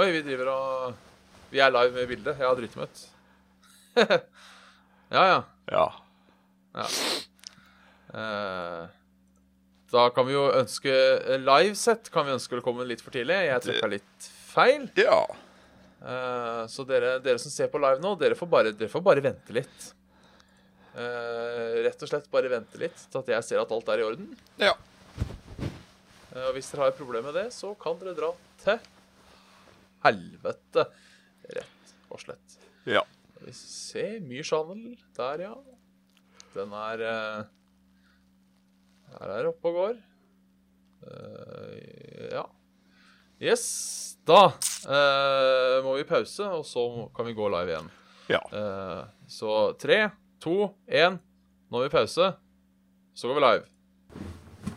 Oi, vi driver og Vi er live med bildet. Jeg har driti meg ut. ja, ja. Ja. Eh, Da kan vi jo ønske livesett kan vi ønske velkommen litt for tidlig. Jeg tråkka litt feil. Ja. Eh, Så dere, dere som ser på live nå, dere får bare, dere får bare vente litt. Eh, Rett og slett bare vente litt til at jeg ser at alt er i orden. Ja. Eh, Og hvis dere har et problem med det, så kan dere dra til helvete. Rett og slett. Ja. Skal vi se Mye channel. Der, ja. Den er eh, Her er oppe og går. Eh, ja. Yes. Da eh, må vi pause, og så kan vi gå live igjen. Ja. Eh, så tre, to, én. Nå har vi pause. Så går vi live.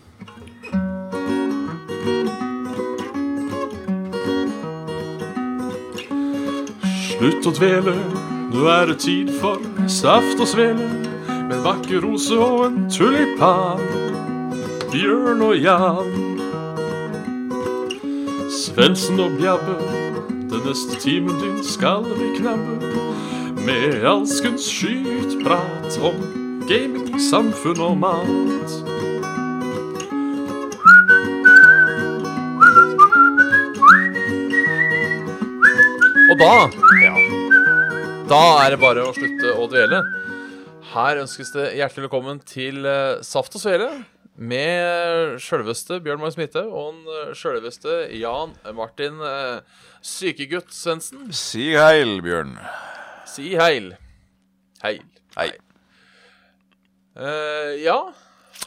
Slutt å dvele, nå er det tid for saft og svele. Med en vakker rose og en tulipan. Bjørn og Jan. Svendsen og Bjabbe, den neste timen din skal vi knabbe. Med alskens skytprat om gaming, samfunn og mat. Og da Ja. Da er det bare å slutte å dvele. Her ønskes det hjertelig velkommen til eh, Saft og Svele med eh, sjølveste Bjørn Magnus Midthaug og den eh, sjølveste Jan Martin eh, Sykegutt Svendsen. Si heil, Bjørn. Si heil. Heil. Hei. Eh, ja,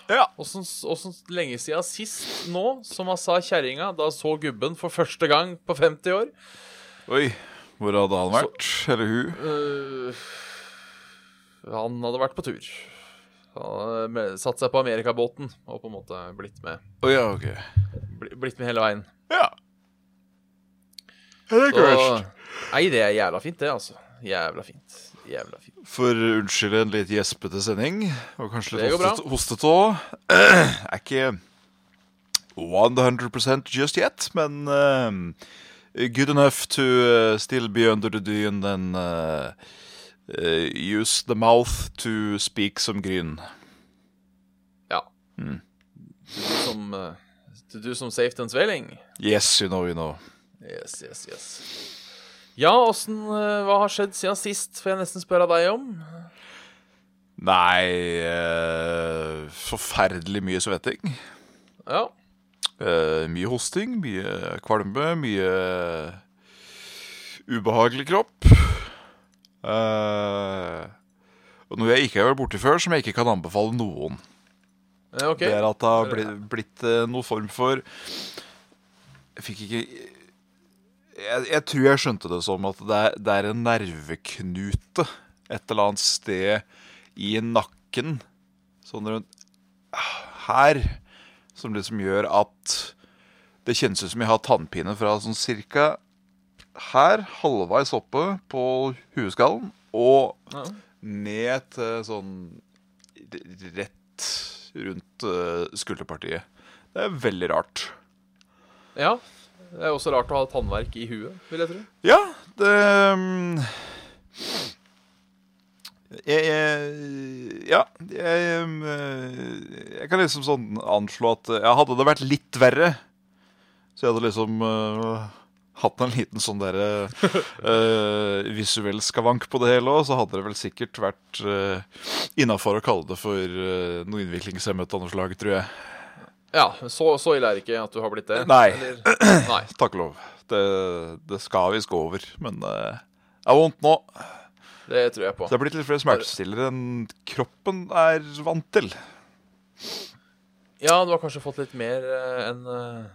Ja. åssen åssen lenge siden sist nå, som han sa kjerringa da så gubben for første gang på 50 år? Oi. Hvor hadde han vært? Eller hun? Eh, han hadde vært på tur. Han hadde me- satt seg på amerikabåten og på en måte blitt med, Å ja, ok. bli- blitt med hele veien. Ja. Det er ikke Så, verst. nei, det er jævla fint, det, altså. Jævla fint. Jævla fint. For unnskyld en litt gjespete sending, og kanskje Det litt går bra. hostet- hostete òg. Er ikke 100 just yet, men eh, good enough to eh, still be under the dune and eh, eh, use the mouth to speak som gryn. Ja. Du, du som eh, du, du som safe and svelling? Yes, you know, you know. Yes, yes, yes. Ja, åssen eh, Hva har skjedd siden sist, får jeg nesten spørre deg om? Nei eh, Forferdelig mye svetting. Ja. Eh, mye hosting, mye kvalme, mye ubehagelig kropp. Eh, og noe jeg ikke har vært borti før, som jeg ikke kan anbefale noen. Eh, OK. Det er at det har blitt, blitt eh, noe form for Jeg fikk ikke jeg, jeg tror jeg skjønte det som at det er, det er en nerveknute et eller annet sted i nakken, sånn rundt her, som liksom gjør at det kjennes ut som jeg har tannpine fra sånn cirka her, halvveis oppe på hueskallen, og Ja. ned til sånn r- rett rundt eh, skulderpartiet. Det er veldig rart. ja. Det er også rart å ha tannverk i huet, vil jeg tro. Ja, det mm, jeg, jeg, Ja, jeg, mm, eh, jeg kan liksom sånn anslå at eh, ja, Hadde det vært litt verre, så jeg hadde liksom eh, hatt en liten sånn derre eh, visuell skavank på det hele òg, så hadde det vel sikkert vært uh, innafor å kalle det for eh, noe innviklingshemmet av noe slag, tror jeg. Ja, så, så ille er det ikke at du har blitt det. Nei. Eller, nei. Takk og lov. Det, det skal visst gå over, men eh, det er vondt nå. Det tror jeg på. Det er blitt litt flere smertestillere enn kroppen er vant til. Ja, du har kanskje fått litt mer eh, enn eh,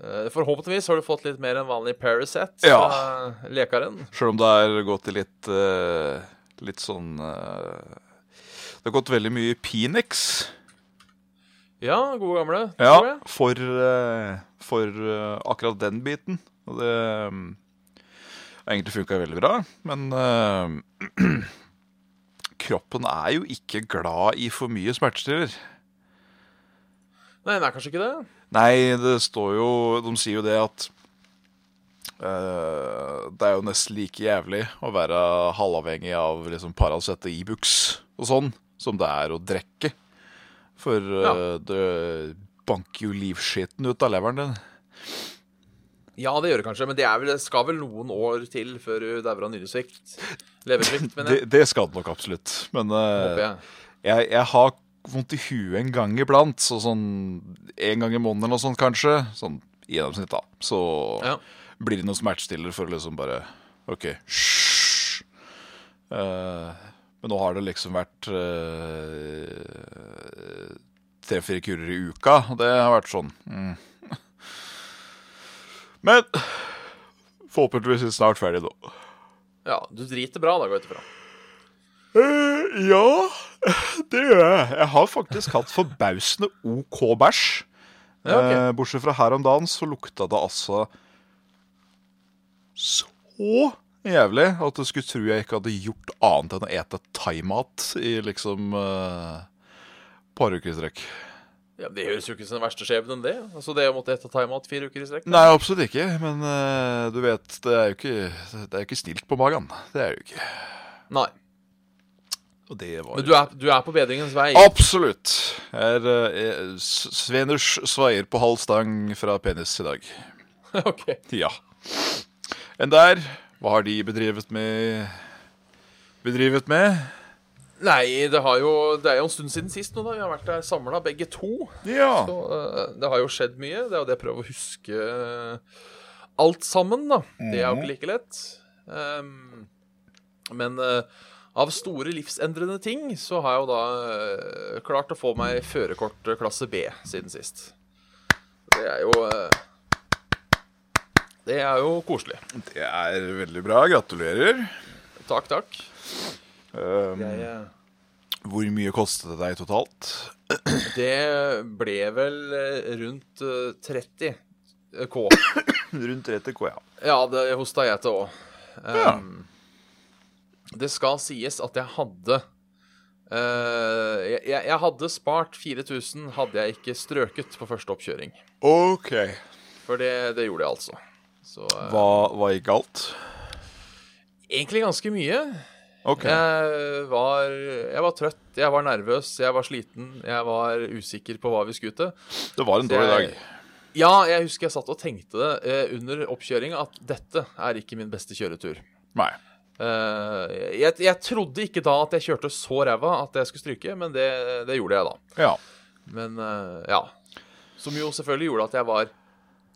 eh, Forhåpentligvis har du fått litt mer enn vanlig Paracet Ja. fra lekeren. Sjøl om det har gått i litt eh, litt sånn eh, Det har gått veldig mye Pinex. Ja, gode gamle. tror Ja, jeg. for, eh, for eh, akkurat den biten. Og det mm, har egentlig funka veldig bra, men eh, kroppen er jo ikke glad i for mye smertestiller. Nei, den er kanskje ikke det. Nei, det står jo De sier jo det at Eh, det er jo nesten like jævlig å være halvavhengig av liksom Paracet og Ibux og sånn, som det er å drikke. For eh, det banker jo livskiten ut av leveren din. Ja, det gjør det kanskje, men det er vel, det skal vel noen år til før du dauer av nyresvikt. Leversvikt, mener Det, jeg. det skal det nok absolutt. Men eh, Håper jeg. jeg, jeg har vondt i huet en gang iblant, så sånn en gang i måneden eller noe sånt kanskje, sånn i gjennomsnitt da, så Ja. blir det noen smertestiller for å liksom bare, ok, hysj. Eh, men nå har det liksom vært eh, tre-fire kurer i uka, og det har vært sånn. Mm. Men forhåpentligvis er vi snart ferdig nå. ja, du driter bra, da, går jeg ut ifra. Eh, ja, det gjør jeg. Jeg har faktisk hatt forbausende OK bæsj. Ja, ok. Eh, bortsett fra her om dagen, så lukta det altså så jævlig at du skulle tro jeg ikke hadde gjort annet enn å ete thaimat i liksom eh, par uker i strekk. Ja, det høres jo ikke som den verste skjebnen, det. Altså det å måtte ete timeout fire uker i strekk. Nei, absolutt ikke. Men eh, du vet, det er jo ikke, det er jo ikke snilt på magen. Det er det jo ikke. Nei. Og det var Men du er, du er på bedringens vei. Absolutt. Er, eh, s- Sveners svaier på halv stang fra penis i dag. ok. Ja. Enn der, hva har de bedrevet med Bedrevet med? Nei, det, har jo, det er jo en stund siden sist nå, da. Vi har vært der samla, begge to. Så Ja. eh, det har jo skjedd mye. Det er jo det jeg prøver å huske eh, alt sammen, da. Det er jo ikke like lett. Ehm, men eh, av store livsendrende ting så har jeg jo da eh, klart å få meg førerkort eh, klasse B siden sist. Det er jo eh, Det er jo koselig. Det er veldig bra. Gratulerer. Takk, takk. Um, Jeg, eh, hvor mye kostet det deg totalt? det ble vel eh, rundt eh, 30 K. Rundt 30 K, ja. Ja, det hosta jeg til òg. Ja. Det skal sies at jeg hadde eh, jeg, jeg jeg hadde spart 4000 hadde jeg ikke strøket på første oppkjøring. OK. For det, det gjorde jeg altså. Så eh, Hva, hva gikk galt? egentlig ganske mye. OK. Jeg var, jeg var trøtt, jeg var nervøs, jeg var sliten, jeg var usikker på hva vi skulle til. Det var en dårlig dag. Ja, jeg husker jeg satt og tenkte det eh, under oppkjøringa at dette er ikke min beste kjøretur. Nei. Eh, jeg, jeg trodde ikke da at jeg kjørte så ræva at jeg skulle stryke, men det, det gjorde jeg da. Ja. Men eh, ja. Som jo selvfølgelig gjorde at jeg var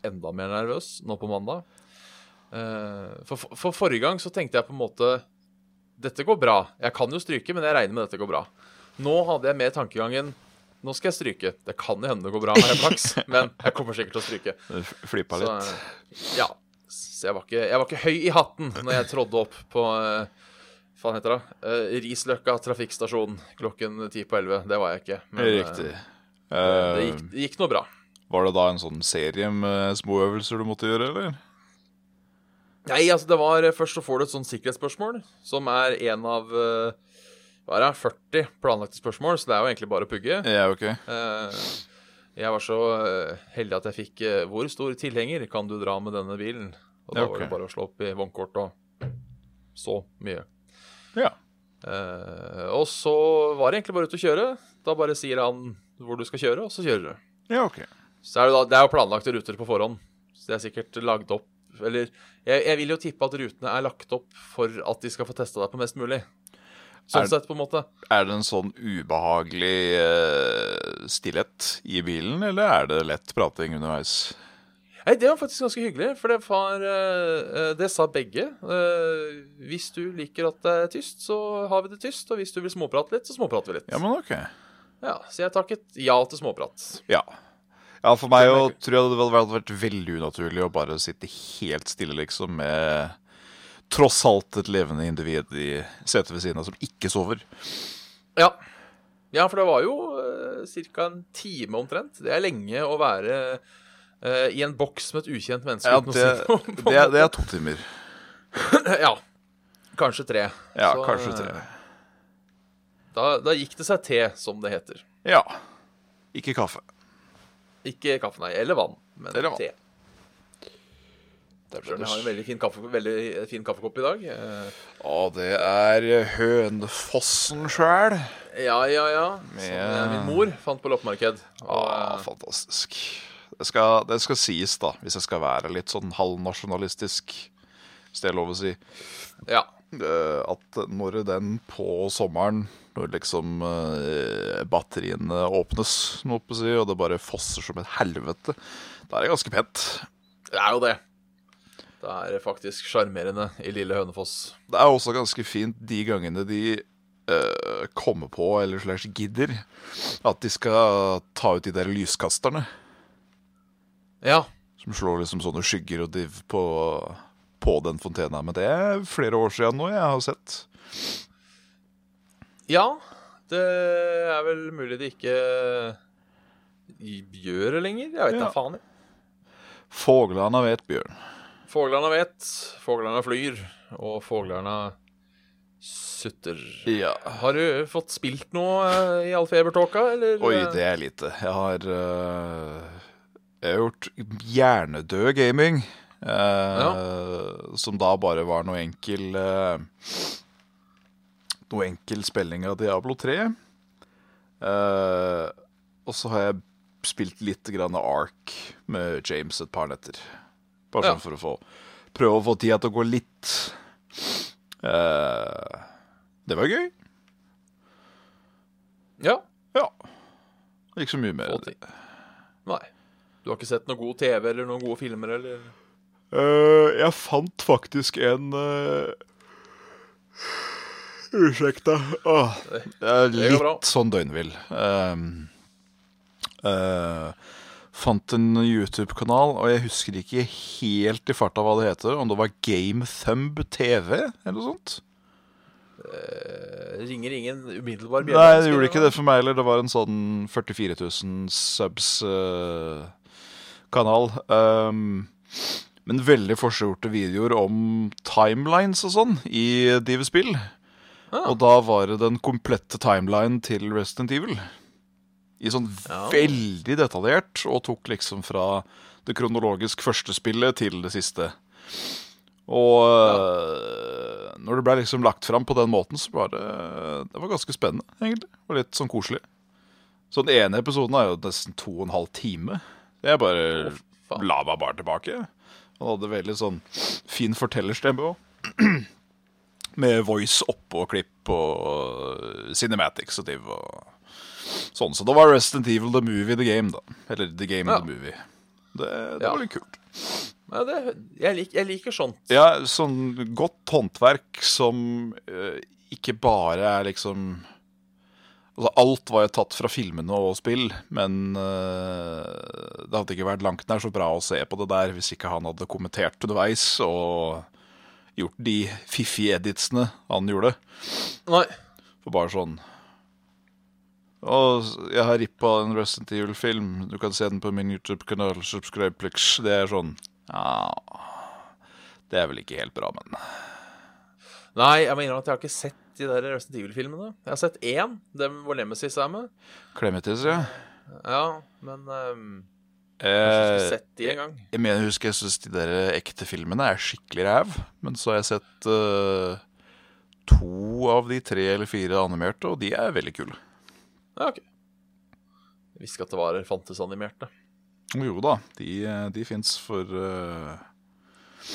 enda mer nervøs nå på mandag. Eh, for, for, for forrige gang så tenkte jeg på en måte Dette går bra. Jeg kan jo stryke, men jeg regner med dette går bra. Nå hadde jeg mer tankegangen Nå skal jeg stryke. Det kan jo hende det går bra, har jeg flaks, men jeg kommer sikkert til å stryke. det f- Flippa Så, eh, litt. ja. Så jeg var, ikke, jeg var ikke høy i hatten når jeg trådde opp på eh, Hva faen heter det? Eh, Risløkka trafikkstasjon klokken ti på elleve. Det var jeg ikke. Men, eh, Riktig. Det Eh, gikk, det gikk noe bra. Var det da en sånn serie med små øvelser du måtte gjøre, eller? Nei, altså det var Først så får du et sånt sikkerhetsspørsmål, som er en av eh, hva er det, 40 planlagte spørsmål, så det er jo egentlig bare å pugge. Ja, ok. Eh, jeg var så eh, heldig at jeg fikk eh, Hvor stor tilhenger kan du dra med denne bilen? Og da Ja, ok. var det bare å slå opp i vognkortet og så mye. Ja. Eh, og så var det egentlig bare ute å kjøre. Da bare sier han hvor du skal kjøre, og så kjører du. Ja, ok. Så er det, da, det er jo planlagte ruter på forhånd, så det er sikkert lagd opp Eller jeg, jeg vil jo tippe at rutene er lagt opp for at de skal få testa deg på mest mulig. Sånn Er- sett, på en måte. Er det en sånn ubehagelig eh, stillhet i bilen, eller er det lett prating underveis? Nei, Det var faktisk ganske hyggelig, for det, var, eh, eh, det sa begge. Eh, hvis du liker at det er tyst, så har vi det tyst. Og hvis du vil småprate litt, så småprater vi litt. Ja, men ok. Ja, så jeg takket ja til småprat. Ja. Ja, for meg jo, tror jeg det hadde vært veldig unaturlig å bare sitte helt stille, liksom, med tross alt et levende individ i setet ved siden av som ikke sover. Ja. ja, for det var jo uh, ca. en time omtrent. Det er lenge å være eh, i en boks med et ukjent menneske. Ja, uten å det, si noe på det, er- det er to timer. Ja. Kanskje tre. Ja, Så, eh, kanskje tre. Da, da gikk det seg te, som det heter. Ja. Ikke kaffe. Ikke kaffe, nei. Eller vann, men Eller vann. te. Det ble Bjørn, det jeg har en veldig fin, kaffe, veldig fin kaffekopp i dag. Eh, Ja, det er Hønefossen sjæl. Ja, ja, ja. Som eh, min mor fant på loppemarked. Og, Ja, eh, fantastisk. Det skal, det skal sies, da, hvis jeg skal være litt sånn halvnasjonalistisk, hvis det er lov å si, ja. eh, at når den på sommeren når liksom eh, batteriene åpnes, må jeg på å si, og det bare fosser som et helvete, da er det ganske pent. Det er jo det. Det er faktisk sjarmerende i lille Hønefoss. Det er også ganske fint de gangene de eh, kommer på, eller slash gidder, at de skal ta ut de der lyskasterne. Ja. Som slår liksom sånne skygger og div på, på den fontena. Men det er flere år siden nå jeg har sett. ja. Det er vel mulig de ikke gjør det lenger. Jeg vet da Ja. faen. jeg. Foglene vet, Bjørn. Foglarna vet, foglarna flyr, og foglarna sutter. Ja. Har du fått spilt noe eh, i all febertåka, eller? Oi, eh, det er lite. Jeg har øh, Jeg har gjort hjernedød gaming. øh, Som da bare var noe enkel øh, Noe enkel spilling av Diablo 3. Eh, og så har jeg spilt litt grann av Ark med James et par netter. Bare Ja. sånn for å få prøve å få tida til å gå litt. Eh, det var gøy. Ja. Ja. Ikke så mye mer. Få enn det. ti- Nei. Du har ikke sett noe god TV eller noen gode filmer, eller? Eh, jeg fant faktisk en eh, Unnskyld, da. Åh, Ah, jeg er det går bra. litt sånn døgnvill. Ehm, eh, fant en YouTube-kanal, og jeg husker ikke helt i farta hva det heter. Om det var Game Thumb TV eller noe sånt. Eh, ringer ingen umiddelbar bjelle? Nei, det husker gjorde jeg ikke det for meg heller. Det var en sånn eh, 44 000 subs-kanal. Um, men veldig forseggjorte videoer om timelines og sånn i Divespill. Ah. Og da var det den komplette timelinen til Resident Evil. I sånn Ja. veldig detaljert, og tok liksom fra det kronologisk første spillet til det siste. Og øh, når det ble liksom lagt fram på den måten, så var det Det var ganske spennende, egentlig. Og litt sånn koselig. Så den ene episoden er jo nesten to og en halv time. Jeg bare faen. la meg bare tilbake. Han hadde veldig sånn fin fortellerstemme òg. Med voice oppå klipp og cinematics og div og sånn. Så det var Resident Evil the Movie The Game, da. Eller The Game Ja. The Movie. Det, det Ja. var litt kult. Ja, det, jeg, lik, jeg liker sånt. Ja, sånn godt håndverk som eh, ikke bare er liksom Altså, alt var jo tatt fra filmene og spill, men eh, det hadde ikke vært langt nær så bra å se på det der hvis ikke han hadde kommentert underveis og gjort de fiffige editsene han gjorde. Nei. For bare sånn Og jeg har rippa en Resident Evil-film. Du kan se den på min YouTube-kanal. Subscribe, plex. Det er sånn Ja Det er vel ikke helt bra, men Nei, jeg må innrømme at jeg har ikke sett de der Resident Evil-filmene. Jeg har sett én, dem hvor Nemesis er med. Clematis, ja. Ja, men ehm, jeg har ikke Eh, sett de en gang. jeg mener, jeg husker jeg syns de der ekte filmene er skikkelig ræv. Men så har jeg sett eh, to av de tre eller fire animerte, og de er veldig kule. Ja, ok. Jeg visste ikke at det var fantes animerte. Og Jo da, de, eh, de fins for eh,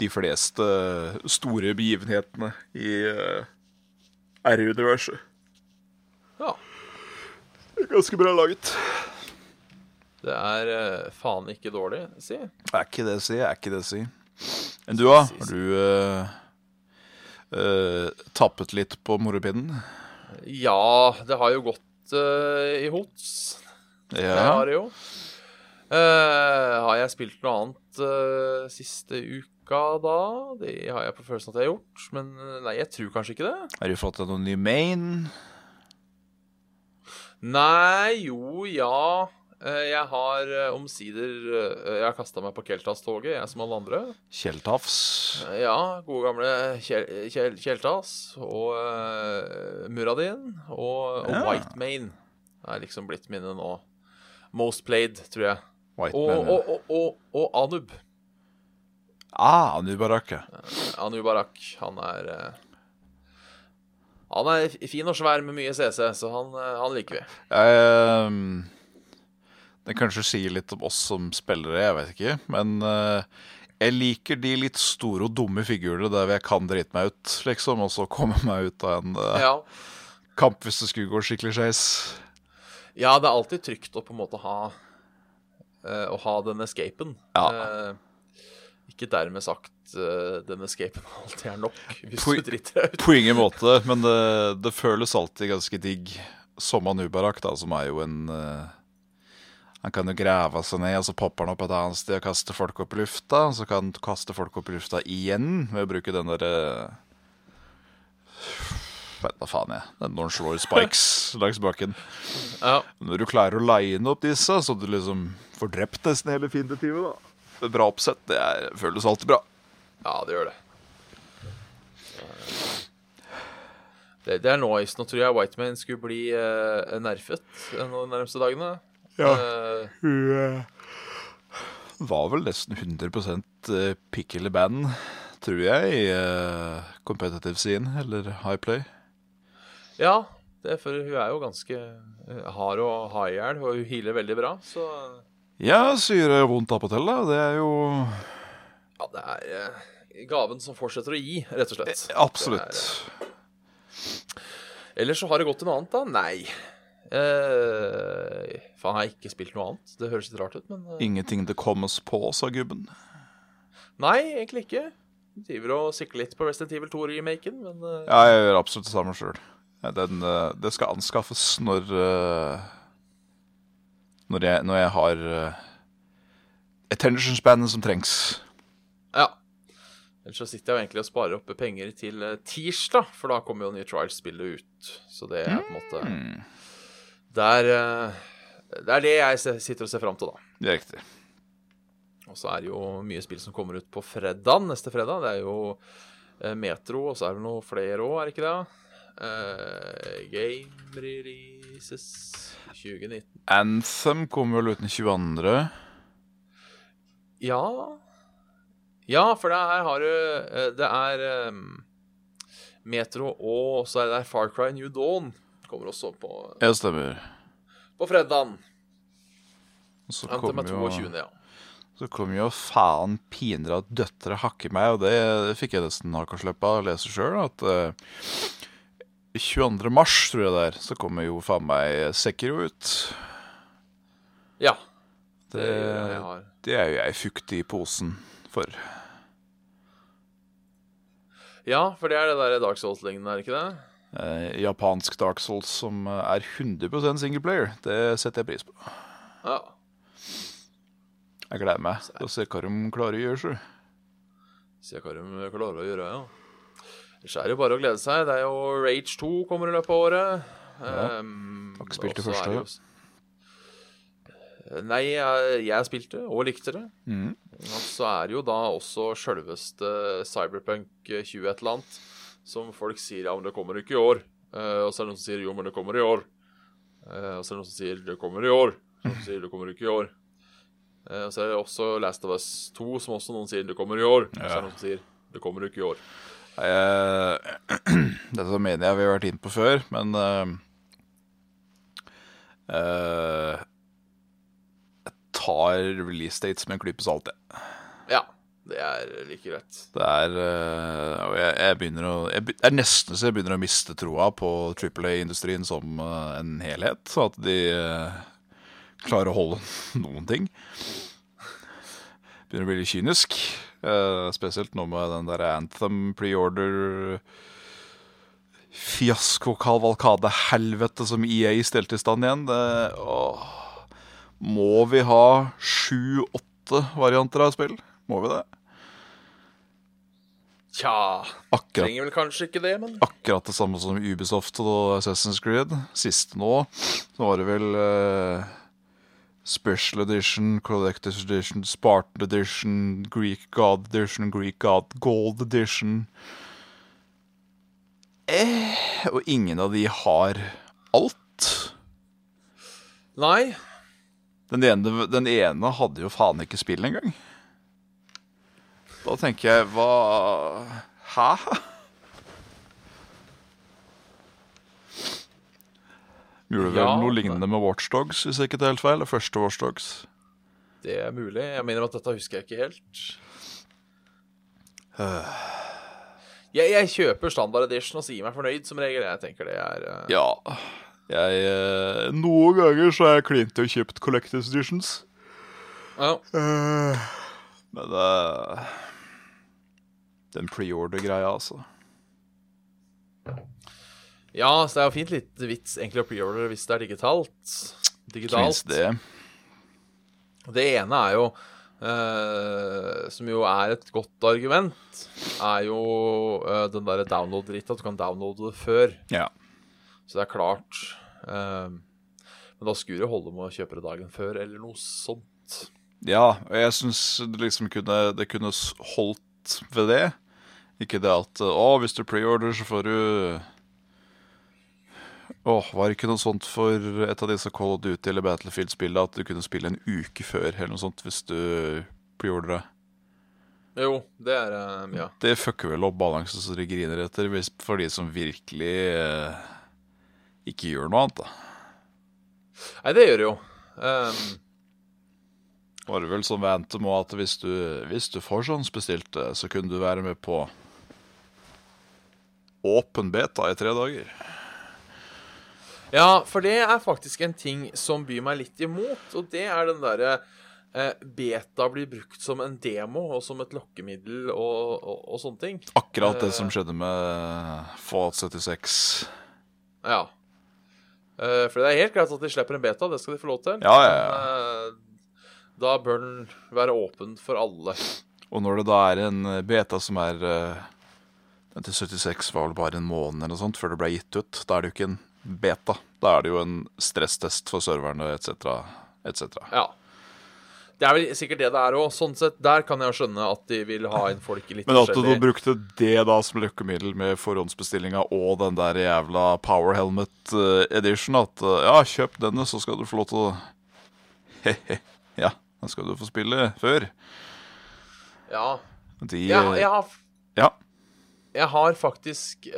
de fleste eh, store begivenhetene i eh, R-universet. Ja. Ganske bra laget. Det er eh, faen ikke dårlig, si. Er ikke det å si, er ikke det å si. Men du, da? Har du eh, eh, tappet litt på moropinnen? Ja, det har jo gått eh, i hots. Det har Ja. det jo. Eh, har jeg spilt noe annet eh, siste uka da? Det har jeg på følelsen at jeg har gjort. Men eh, nei, jeg tror kanskje ikke det. Har du fått deg noen ny main? Nei, jo, ja. Eh, jeg har eh, omsider eh, Jeg har kasta meg på Keltas-toget, jeg som alle andre. Kjeltafs? Eh, ja, gode gamle Kjel Kjel Kjeltas og eh, Muradin og, og Ja. White Main er liksom blitt mine nå. Most played, tror jeg. White Og, man, ja. og, og, og, og Anub. Ah, Nubarake. Anubarak, han er eh, Han er f- fin og svær med mye CC, så han, eh, han liker vi. Ehm, det kanskje sier litt om oss som spillere, jeg vet ikke. Men eh, jeg liker de litt store og dumme figurene der hvor jeg kan drite meg ut, liksom. Og så komme meg ut av en eh, Ja. kamp hvis det skulle gå skikkelig skeis. ja, det er alltid trygt å på en måte ha eh, Å ha den escapen. Ja. Eh, ikke dermed sagt eh, den escapen alltid er nok, hvis Poi- du driter deg ut. På ingen måte, men det, det føles alltid ganske digg. Som han Ubarak, da, som er jo en eh, Han kan jo grave seg ned, og så popper han opp et annet sted og kaster folk opp i lufta. Og så kan han kaste folk opp i lufta igjen ved å bruke den derre Vet da faen, jeg. Den når han slår spikes langs bakken. Ja. Når du klarer å line opp disse, så du liksom får drept nesten hele fiendetivet, da. Med Bra oppsett. Det er, føles alltid bra. ja, det gjør det. Eh, Det, det er noise. Nå tror jeg Whiteman skulle bli eh, nerfet eh, nå de nærmeste dagene. Ja. Eh, eh, var vel nesten 100 eh, pick eller band, tror jeg, i eh, competitive scene, eller high play. Ja, det er for hun er jo ganske eh, hard og hard i hjel, og hun healer veldig bra, så Ja, syre og vondt av og til, da. Det er jo Ja, det er eh, gaven som fortsetter å gi, rett og Eh, slett. Absolutt. Ellers så har det gått til noe annet, da? Nei. Eh, faen, jeg har ikke spilt noe annet. Det høres litt rart ut, men eh, Ingenting det kommes på, sa gubben. Nei, egentlig ikke. Jeg driver og sikler litt på Resident Evil 2-remaken, men eh, Ja, jeg gjør absolutt det samme sjøl. Den, eh, det skal anskaffes når eh, når, jeg, når jeg har eh, attention-spannet som trengs. ja. Ellers så sitter jeg jo egentlig og sparer opp penger til eh, tirsdag, for da kommer jo nye Trials-spillet ut. Så det er på en måte Det er, eh, det er det jeg se- sitter og ser fram til, da. Det er riktig. Og så er det jo mye spill som kommer ut på fredag, neste fredag. Det er jo eh, Metro, og så er det noe flere òg, er det ikke det? Eh, game releases 2019 Anthem kommer vel ut den 22. Ja Ja, for det her har du eh, Det er eh, Metro, og så er det der Far Cry New Dawn. Kommer også på, Ja, stemmer. på fredag. Og Så Anthem kommer er jo- 22., ja. Så kom jo faen pinere at døtre hakker meg, og det, det fikk jeg nesten hakaslepp av å lese sjøl. At eh, 22. mars, tror jeg det er, så kommer jo faen meg Sekiro ut. Ja. Det, Det, jeg har. det er jo jeg fuktig i posen for. ja, for det er det der Dark Souls-lignende, er det ikke det? Eh, japansk Dark Souls som er 100 singleplayer. Det setter jeg pris på. Ja. Jeg gleder meg til å se hva de klarer å gjøre. sjø. Se hva de klarer å gjøre, ja. Ellers er det jo bare å glede seg. Det er jo Rage 2 kommer i løpet av året. Ja. Ehm, Har ikke spilt og det så er første, jo- Nei, jeg, jeg spilte og likte det. Mhm. Og så er det jo da også sjølveste Cyberpunk 20 et eller annet, som folk sier ja, men det kommer ikke i år. Eh, og så er det noen som sier jo, men det kommer i år. Eh, og så er det noen som sier det kommer i år. Så er det Noen som sier det kommer ikke i år. Eh, og så er det også Last of Us 2, som også noen sier det kommer i år. Og så er det noen som sier det kommer ikke i år. Eh, Dette mener jeg vi har vært inne på før, men eh, eh, Jeg tar release dates med en klype salt, jeg. Ja, det er like greit. Det er eh, og jeg, jeg begynner å jeg, be- Det er nesten så jeg begynner å miste troa på Triple A-industrien som eh, en helhet. Så at de eh, klarer å holde noen ting. Begynner å bli litt kynisk. eh, spesielt nå med den der Anthem pre-order fiasko-kavalkade-helvete som EA stelte i stand igjen. Det, åh. Må vi ha sju-åtte varianter av spill? Må vi det? Tja Akkurat, Trenger vel kanskje ikke det, men akkurat det samme som Ubisoft og Assassin's Creed. Siste nå, så var det vel eh, Special Edition, Collector's Edition, Spartan Edition, Greek God Edition, Greek God Gold Edition. Eh, og ingen av de har alt. Nei. Den ene, den ene hadde jo faen ikke spill engang. Da tenker jeg hva Hæ? Gjorde vel Ja, noe det- lignende med Watchdogs, hvis jeg ikke tar helt feil. Det første Watchdogs. Det er mulig. Jeg mener at dette husker jeg ikke helt. Jeg, jeg kjøper standard edition og sier meg fornøyd, som regel. Jeg tenker det er eh, Ja. Jeg eh, Noen ganger så har jeg klint og kjøpt Collectors Editions. ja. Eh, Men eh, Den preorder-greia, altså. ja, så det er jo fint litt vits egentlig å preordre hvis det er digitalt. Ikke minst Digitalt. det. Det ene er jo eh, Som jo er et godt argument, er jo eh, den derre download-dritt, at du kan downloade det før. Ja. Så det er klart. eh, men da skulle det holde med å kjøpe det dagen før, eller noe sånt. ja og jeg syns det liksom kunne, det kunne s- holdt ved det. Ikke det at eh, Å, hvis du preorder, så får du Åh, var det ikke noe sånt for et av disse Call of Duty eller Battlefield-spillene at du kunne spille en uke før eller noe sånt hvis du preordra? Jo, det er eh, Ja. Det fucker vel opp balansen så det griner etter hvis- for de som virkelig eh, ikke gjør noe annet. da. Nei, det gjør det jo. Ehm, Var det vel som ved Anthem og at hvis du, hvis du forhåndsbestilte, eh, så kunne du være med på åpen beta i tre dager. ja, for det er faktisk en ting som byr meg litt imot, og det er den derre eh, Beta blir brukt som en demo og som et lokkemiddel og, og, og sånne ting. Akkurat det som skjedde med eh, Fallout 76. Ja. Eh, for det er helt greit at de slipper en beta, det skal de få lov til. Ja, ja, ja. Men, eh, da bør den være åpen for alle. Og når det da er en beta som er eh, Den til 76 var vel bare en måned eller noe sånt før det ble gitt ut. Da er det jo ikke en beta. Da er det jo en stresstest for serverne etc. etc. Ja. Det er vel sikkert det det er òg. Sånn sett, der kan jeg jo skjønne at de vil ha inn folk i litt Men at du da forskjellig brukte det da som løkkemiddel med forhåndsbestillinga og den der jævla Power Helmet eh, Edition, at eh, ja, kjøp denne, så skal du få lov til å Ja, den skal du få spille før. Ja. De Jeg, eh, jeg, har, ja. jeg har faktisk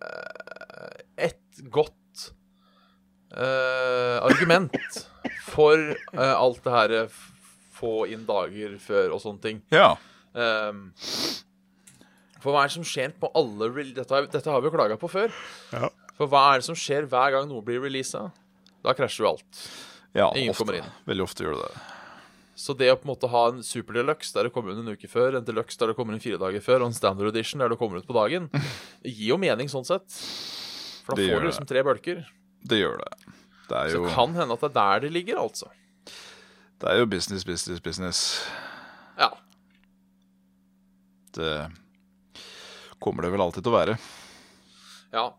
eh, et godt eh, argument for eh, alt det her eh, f- få inn dager før og sånne ting. ja. Ehm, for hva er det som skjer på alle rel- dette, har- dette har vi jo klaga på før. Ja. For hva er det som skjer hver gang noe blir releasa? Da krasjer jo alt. Ja, Ingen kommer ofte. inn. Veldig ofte gjør du det. Så det å på en måte ha en super deluxe der det kommer ut en uke før, en deluxe der det kommer inn fire dager før, og en standard edition der det kommer ut på dagen, det gir jo mening sånn sett. For da Det får du gjør det. liksom tre bølger. Det gjør det. Det er Så jo, det kan hende at det er der det ligger, altså. det er jo business, business, business. Ja. Det kommer det vel alltid til å være. ja.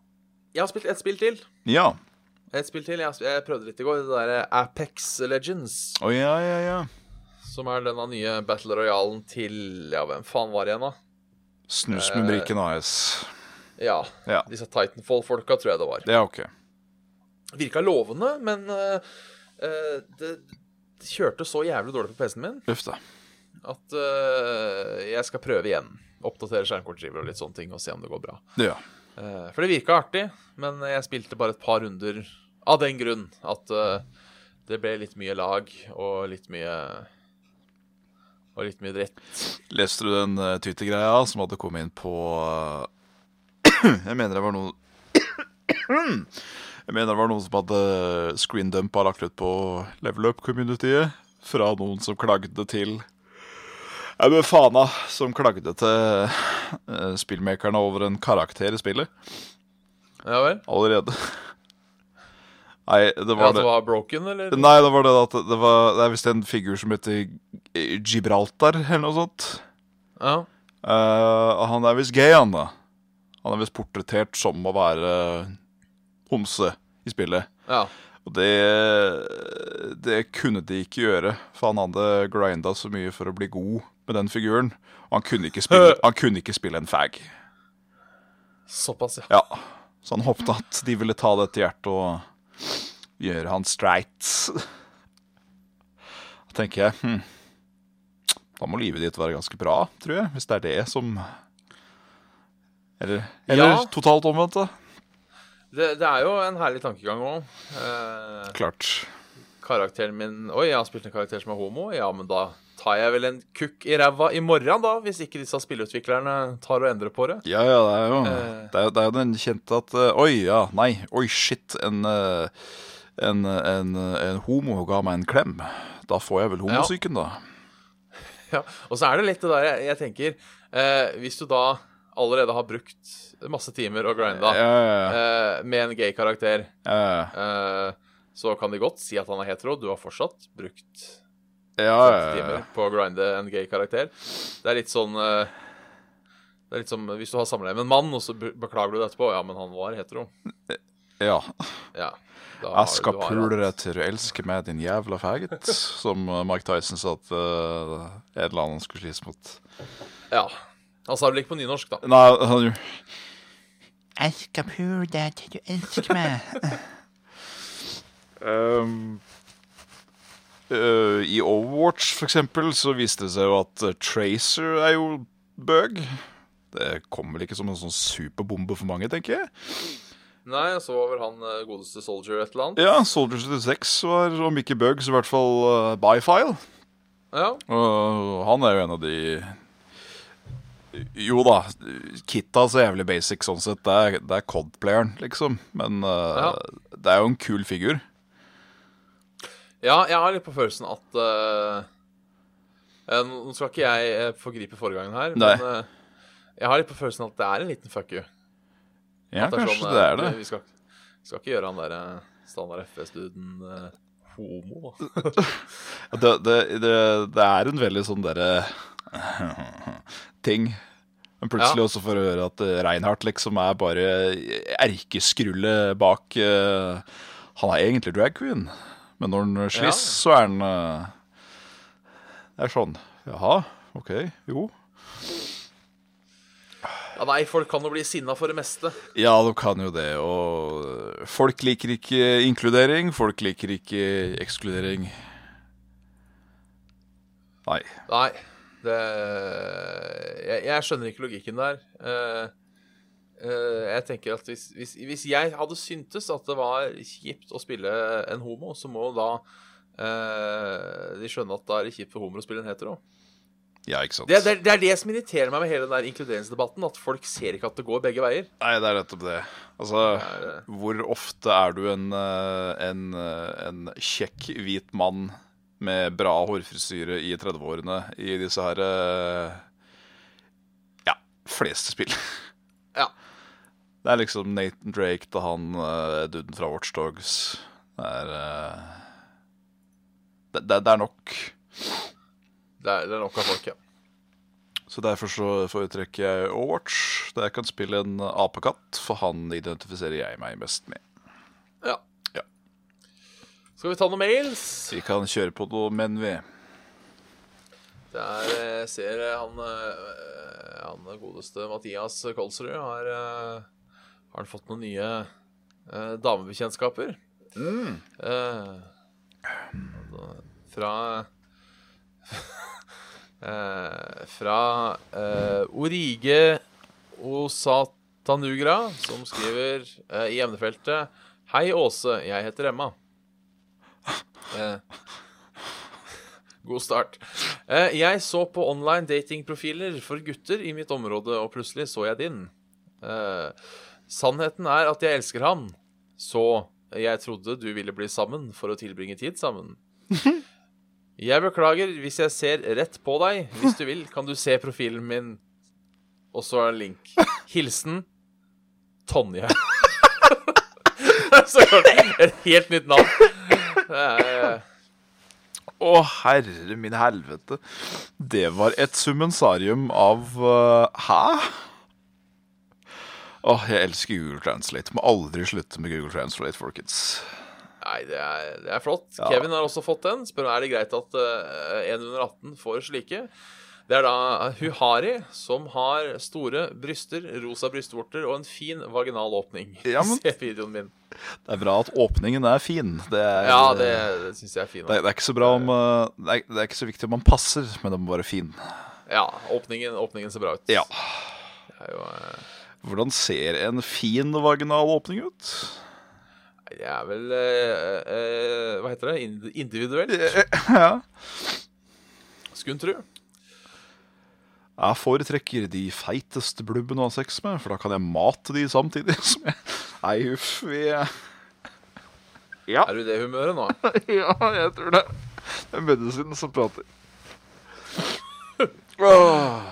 Jeg har spilt ett spill til. Ja. Et spill til, Jeg, har sp- jeg prøvde litt i går. Det derre Apex Legends. Å ja, ja, ja. Som er denne nye Battle Royalen til Ja, hvem faen var det igjen, da? Eh. Snusmumrikken AS. Ja, Ja. disse Titanfall-folka, tror jeg det var. Det er ok. Virka lovende, men eh, eh, det det kjørte så jævlig dårlig på PC-en min Uff da. at eh, jeg skal prøve igjen. Oppdatere skjermkortdriver og litt sånne ting og se om det går bra. Ja. Eh, for det virka artig, men jeg spilte bare et par runder av den grunn at eh, det ble litt mye lag og litt mye Og litt mye dritt. Leste du den uh, Twitter-greia som hadde kommet inn på eh, Jeg mener det var noen Jeg mener det var noen som hadde screendumpa lagt ut på level up-communityet. Fra noen som klagde til Ja, men faen da, som klagde til eh, spillmakerne over en karakter i spillet Ja vel? allerede. Nei, det Ja, var at det det. var broken, eller? Nei, det var det at det var Det er visst en figur som heter eh, Gibraltar, eller noe sånt. Ja. Eh, og han er visst gay, han da. Han er visst portrettert som å være homse i spillet. ja. Og det Det kunne de ikke gjøre, for han hadde grinda så mye for å bli god med den figuren. Og han kunne ikke spille, han kunne ikke spille en fag. Såpass, ja. Ja. Så han håpte at de ville ta det til hjertet og gjøre han streit. Da tenker jeg hm. Da må livet ditt være ganske bra, tror jeg. Hvis det er det som Eller, Ja. eller totalt omvendt, da. Det, det er jo en herlig tankegang òg. Eh, Klart. karakteren min Oi, jeg har spilt en karakter som er homo. Ja, men da tar jeg vel en kukk i ræva i morgen, da. Hvis ikke disse spillutviklerne tar og endrer på det. Ja, ja, det er jo Eh. Det er, jo- det er jo den kjente at eh, Oi, ja, nei, oi, shit. En, eh, en, en, en homo ga meg en klem. Da får jeg vel homosyken, da. Ja, og så er det litt det der jeg, jeg tenker eh, Hvis du da allerede har brukt masse timer og grinda Ja, ja, ja. eh, med en gay karakter, Ja, eh, så kan de godt si at han er hetero. Du har fortsatt brukt Ah, ja, ja, ja. timer på å grinde en gay karakter. Det er litt sånn eh, Det er litt som hvis du har samleie med en mann, og så be- beklager du det etterpå. Ja, men han var hetero. ja. Ja. da har- Jeg skal du har pule deg hatt- til å elske meg, din jævla faggot. Som eh, Mike Tyson sa at uh, en eller annen skulle slite mot. Ja. Han sa det vel ikke på nynorsk, da. Nei, han gjorde Jeg skal pule deg til du elsker meg. Ehm, øh, I Overwatch for eksempel så viste det seg jo at eh, Tracer er jo bøg. Det kommer vel ikke som en sånn superbombe for mange, tenker jeg. Nei, så var vel han eh, godeste soldier et eller annet. Ja, Soldier 76 var om ikke bøg, så i hvert fall uh, bifile. Ja. Og han er jo en av de Jo da, Kitta er så jævlig basic sånn sett. Det er, det er Cod-playeren, liksom. Men eh, det er jo en kul figur. Ja, jeg har litt på følelsen at eh, eh, Nå skal ikke jeg eh, forgripe forrige gangen her, Nei. men eh, jeg har litt på følelsen at det er en liten fuck you. Ja, At det er kanskje sånn, det eh, er det. Vi skal, skal ikke gjøre han derre standard FS-duden eh, homo, da. Ja, Det, det, det, det er en veldig sånn derre ting. Men plutselig Ja. også får du høre at eh, Reinhardt liksom er bare erkeskrullet bak eh, Han er egentlig drag queen, men når han Ja. sliss, så er han eh, Det er sånn Jaha, OK, jo. Ja, nei, folk kan jo bli sinna for det meste. Ja, du kan jo det. Og folk liker ikke inkludering, folk liker ikke ekskludering. Nei. Nei. Det Jeg, jeg skjønner ikke logikken der. Eh, eh, jeg tenker at hvis, hvis, hvis jeg hadde syntes at det var kjipt å spille en homo, så må da eh, de skjønne at da er det kjipt for homoer å spille en hetero. Ja, ikke sant. Det, det, det er det som irriterer meg med hele den der inkluderingsdebatten. At folk ser ikke at det går begge veier. Nei, det er nettopp det. Altså, hvor ofte er du en, eh, en, eh, en kjekk hvit mann med bra hårfrisyre i 30-årene i disse her eh, Ja, fleste spill. Ja. Det er liksom Nathan Drake til han eh, duden fra Watch Dogs. Det er eh, det, det, det er nok. Det er, det er nok av folk, ja. Så derfor så foretrekker jeg Overwatch, der jeg kan spille en apekatt, for han identifiserer jeg meg best med. ja. Ja. Skal vi ta noen mails? Vi kan kjøre på noe menn, vi. Det er, jeg ser eh, han, eh, han godeste Mathias Kolsrud har, eh, har han fått noen nye eh, damebekjentskaper. Eh, da- fra eh, Fra eh, Orige Osatanugra, som skriver eh, i emnefeltet Hei, Åse. Jeg heter Emma. Eh, God start. Eh, Jeg så på online datingprofiler for gutter i mitt område, og plutselig så jeg din. Eh, Sannheten er at jeg elsker han, så jeg trodde du ville bli sammen for å tilbringe tid sammen. Jeg beklager hvis jeg ser rett på deg. Hvis du vil, kan du se profilen min. Og så er det en link. Hilsen Tonje. så klart. Et helt nytt navn. Eh, Det er, Å, herre min helvete. Det var et summensarium av eh, Hæ? Åh, jeg elsker Google Translate. Må aldri slutte med Google Translate, folkens. Nei, det er, det er flott. Kevin har også fått den. Spør om er det greit at eh, en under 18 får slike. Det er da Huhari som har store bryster, rosa brystvorter og en fin vaginal åpning. Ja, men- Se videoen min. Det er bra at åpningen er fin. Det er, Ja, det, det syns jeg er fin. altså. det, er- det er ikke så bra om eh, det er, det er ikke så viktig om man passer, men det må være fin. Ja, åpningen, åpningen ser bra ut. Ja. Det er jo eh, Hvordan ser en fin vaginal åpning ut? Det er vel eh, eh, Hva heter det? Ind- Individuelt, Ja. skulle en tro. Jeg foretrekker de feiteste blubbene å ha sex med, for da kan jeg mate de samtidig som jeg Nei, uff. Vi Er du i det humøret nå? Ja, jeg tror det. Det er medisinen som prater. Åh.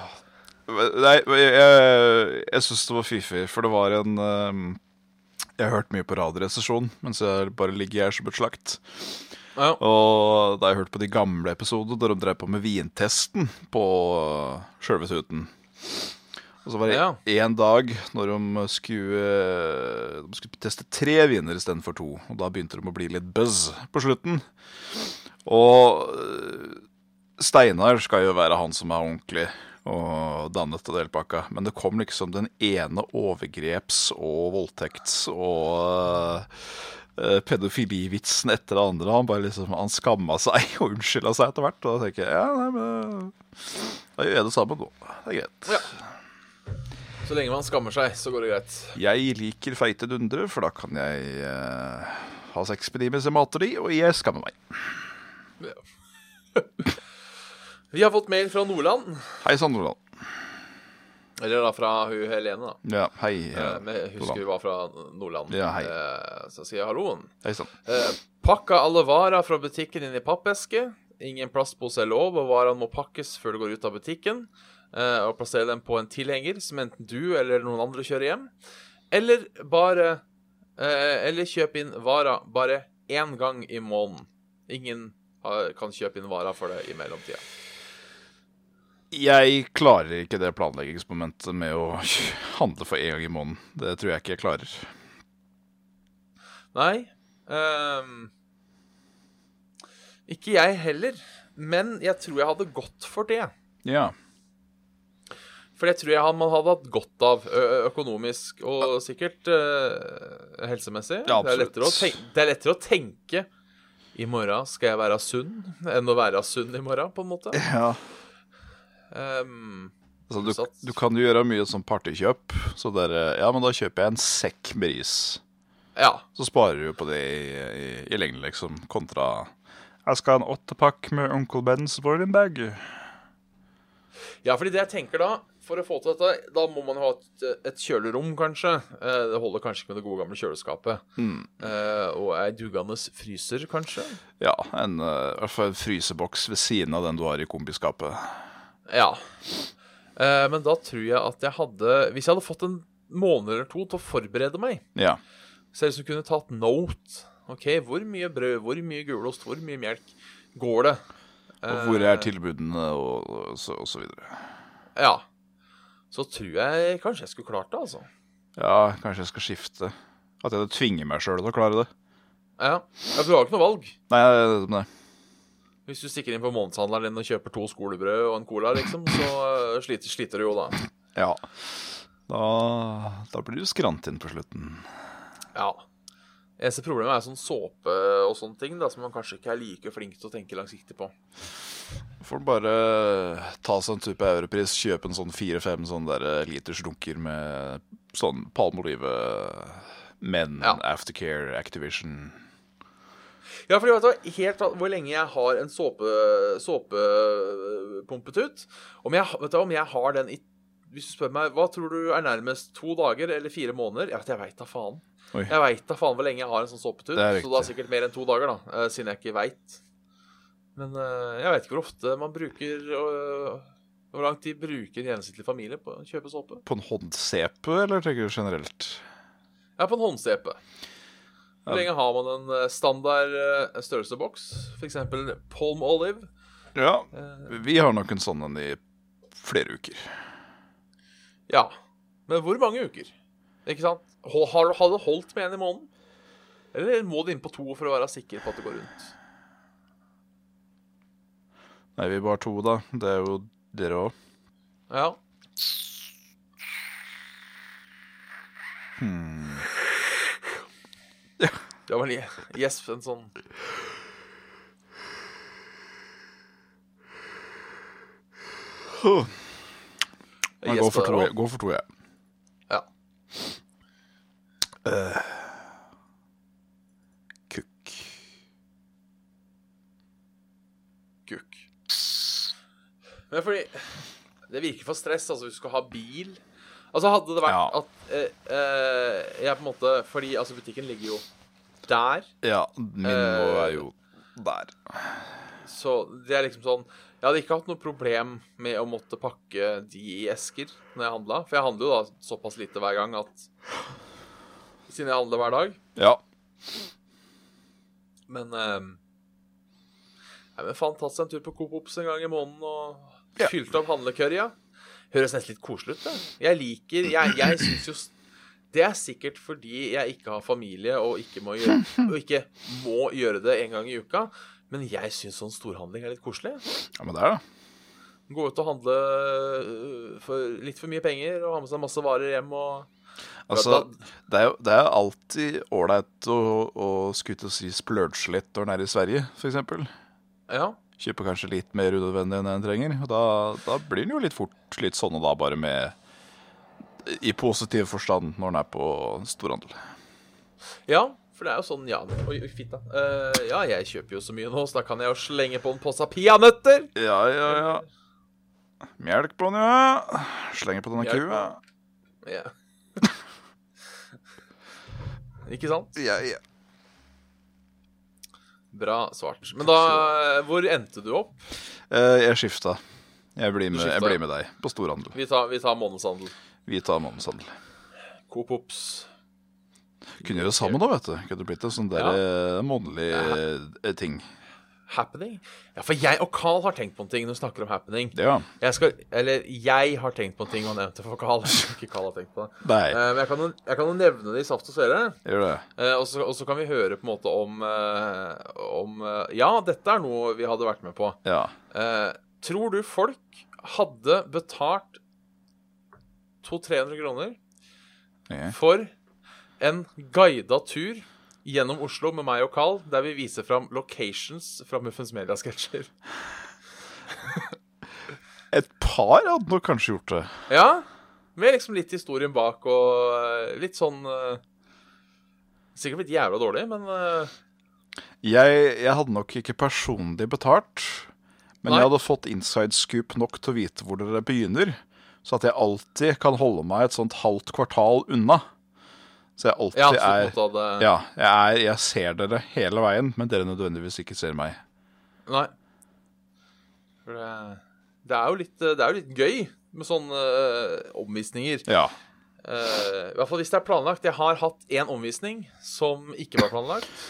Nei, jeg, jeg, jeg syns det var fiffig, for det var en ehm, Jeg hørte mye på Radioresepsjonen mens jeg bare ligger her som et slakt. Ja, Og da jeg hørte på de gamle episodene der de drev på med vintesten på eh, sjølve tuten Og så var det Ja. en dag når de skulle, de skulle teste tre viner istedenfor to. Og da begynte de å bli litt buzz på slutten. Og øh, Steinar skal jo være han som er ordentlig og dannet og delpakka. Men det kom liksom den ene overgreps- og voldtekts- og øh, pedofilivitsen etter det andre. Han bare liksom, han skamma seg og unnskylda seg etter hvert. Og da tenker jeg ja, nei, men da gjør jeg det samme nå. Det er greit. Så lenge man skammer seg, så går det greit. Jeg liker feite dundere, for da kan jeg øh, ha sex med de mens jeg mater de, og jeg skammer meg. Vi har fått mail fra Nordland. Hei sann, Nordland. Eller da fra hun Helene, da. Ja, hei. Eh, Ja, men jeg husker hun var fra Nordland. Ja, hei. Eh, Så sier jeg halloen. hei sann. Eh, Pakka alle varer fra butikken inn i pappeske. Ingen plastpose er lov, og varene må pakkes før du går ut av butikken. eh, Og plassere dem på en tilhenger som enten du eller noen andre kjører hjem. Eller bare eh, Eller kjøp inn varer bare én gang i måneden. Ingen har- kan kjøpe inn varer for det i mellomtida. Jeg klarer ikke det planleggingsmomentet med å handle for én gang i måneden. Det tror jeg ikke jeg klarer. Nei. ehm, ikke jeg heller. Men jeg tror jeg hadde gått for det. Ja. For det tror jeg han- man hadde hatt godt av ø- økonomisk og sikkert eh, helsemessig. Ja, det, er lettere å absolutt. tenke, det er lettere å tenke i morgen skal jeg være sunn, enn å være sunn i morgen, på en måte. Ehm, Altså, du, du kan jo gjøre mye sånn partykjøp. Så der, ja, men da kjøper jeg en sekk med ris. ja. Så sparer du på det i, i, i lengden, liksom. Kontra Jeg skal ha en åttepakk med Onkel Bens rolling bag. ja, fordi det jeg tenker da For å få til dette, da må man jo ha et, et kjølerom, kanskje. Eh, det holder kanskje ikke med det gode gamle kjøleskapet. Mm. Eh, og ei dugende fryser, kanskje. Ja, en, eh, i hvert fall en fryseboks ved siden av den du har i kombiskapet. Ja. Eh, men da tror jeg at jeg hadde Hvis jeg hadde fått en måned eller to til å forberede meg, Ja. så jeg liksom kunne tatt note. OK, hvor mye brød, hvor mye gulost, hvor mye melk går det? Og hvor Eh. er tilbudene, og, og, så, og så videre. Ja. Så tror jeg kanskje jeg skulle klart det, altså. Ja, kanskje jeg skal skifte. At jeg tvinger meg sjøl til å klare det. Ja, ja for du har jo ikke noe valg. Nei, nei. Hvis du stikker inn på månedshandleren din og kjøper to skolebrød og en cola, liksom, så eh, sliter, sliter du jo da. Ja. Da, da blir du skrant inn på slutten. Ja. Eneste problemet er sånn såpe og sånne ting da, som man kanskje ikke er like flink til å tenke langsiktig på. Får du bare eh, ta seg en tur på Europris, kjøpe en sånn fire-fem sånn der eh, liters dunker med sånn palmeolive Men Ja. aftercare Activision. Ja, fordi vet du hva, helt al- hvor lenge jeg har en såpe, såpepumpetut om jeg, Vet du hva, om jeg har den i Hvis du spør meg hva tror du er nærmest to dager eller fire måneder Jeg vet, jeg vet da faen. Oi. Jeg veit da faen hvor lenge jeg har en sånn såpetut. Det er Så da riktig. sikkert mer enn to dager, da, eh, siden jeg ikke veit. Men eh, jeg veit ikke hvor ofte man bruker øh, Hvor lang tid bruker en gjennomsnittlig familie på å kjøpe såpe? På en håndsepe, eller tenker du generelt? Ja, på en håndsepe. Hvor lenge har man en eh, standard eh, størrelseboks? F.eks. Palm Olive. Ja. Eh, Vi har nok en sånn en i flere uker. Ja. Men hvor mange uker? Ikke sant? Hol- Har, har det holdt med en i måneden? Eller må det inn på to for å være sikker på at det går rundt? Nei, vi er bare to, da. Det er jo Dere òg. Ja. Hmm. Det var li- gjesp, en sånn Jeg Gjesp går for der to, også. jeg. Går for to, jeg. Ja. Kukk. kuk. Men fordi Det virker for stress, altså, hvis du skal ha bil. Altså, hadde det vært Ja. at eh, eh, jeg på en måte Fordi altså, butikken ligger jo der, Ja, min nå Eh, er jo der. så det er liksom sånn Jeg hadde ikke hatt noe problem med å måtte pakke de i esker når jeg handla, for jeg handler jo da såpass lite hver gang at Siden jeg handler hver dag. Ja. Men ehm, Nei, men faen, tatt seg en tur på Coop Ops en gang i måneden og Ja. fylt opp handlekørja. Høres nesten litt koselig ut, det. Jeg liker Jeg, jeg syns jo s- Det er sikkert fordi jeg ikke har familie og ikke må gjøre, og ikke må gjøre det en gang i uka. Men jeg syns sånn storhandling er litt koselig. ja, men det er det. Gå ut og handle øh, for litt for mye penger og ha med seg masse varer hjem og Altså, det er jo det er alltid ålreit å, å skulle til å si splurge litt når en er i Sverige, f.eks. Ja. Kjøper kanskje litt mer unødvendig enn en trenger. Og da, da blir den jo litt fort litt sånn, og da bare med I positiv forstand når den er på storhandel. Ja, for det er jo sånn ja, Oi, oi, fitta. Eh, ja, jeg kjøper jo så mye nå, så da kan jeg jo slenge på en pose peanøtter. Ja, ja, ja. Melk på den, ja. Slenger på denne Mjelk. kua. Ja. Ikke sant? Ja, ja. Bra svart. Men da Hvor endte du opp? Eh, Jeg skifta. Jeg blir, med, jeg skifta, ja. blir med deg på storhandel. Vi tar, vi tar månedshandel. Vi tar månedshandel. Coop Ops. Kunne gjøre det sammen da, vet du. Kunne blitt en sånn der eh, månedlig eh, ting. Happening? Ja, for jeg og Carl har tenkt på en ting når vi snakker om happening. Det, ja. Jeg skal, eller jeg har tenkt på en ting og nevnte for Carl. Ikke Carl har tenkt på det. Nei. Eh, men jeg kan, jo- jeg kan jo nevne det i Saft og Svele. Gjør det. Eh, og, så, og så kan vi høre på en måte om, eh, om eh, Ja, dette er noe vi hadde vært med på. Ja. Eh, tror du folk hadde betalt 200-300 kroner Ok. for en guida tur gjennom Oslo med meg og Carl, der vi viser fram locations fra Muffens Media-sketsjer? Et par hadde nok kanskje gjort det. Ja, med liksom litt historien bak og eh, litt sånn eh, Sikkert blitt jævla dårlig, men eh, Jeg, jeg hadde nok ikke personlig betalt, men Nei. jeg hadde fått inside scoop nok til å vite hvor dere begynner, så at jeg alltid kan holde meg et sånt halvt kvartal unna. Så jeg alltid ja, så på en er måte hadde Ja, jeg, er, jeg ser dere hele veien, men dere nødvendigvis ikke ser meg. Nei. For det, det, er jo litt, det er jo litt gøy med sånne eh, omvisninger. Ja. Eh, I hvert fall hvis det er planlagt. Jeg har hatt én omvisning som ikke var planlagt.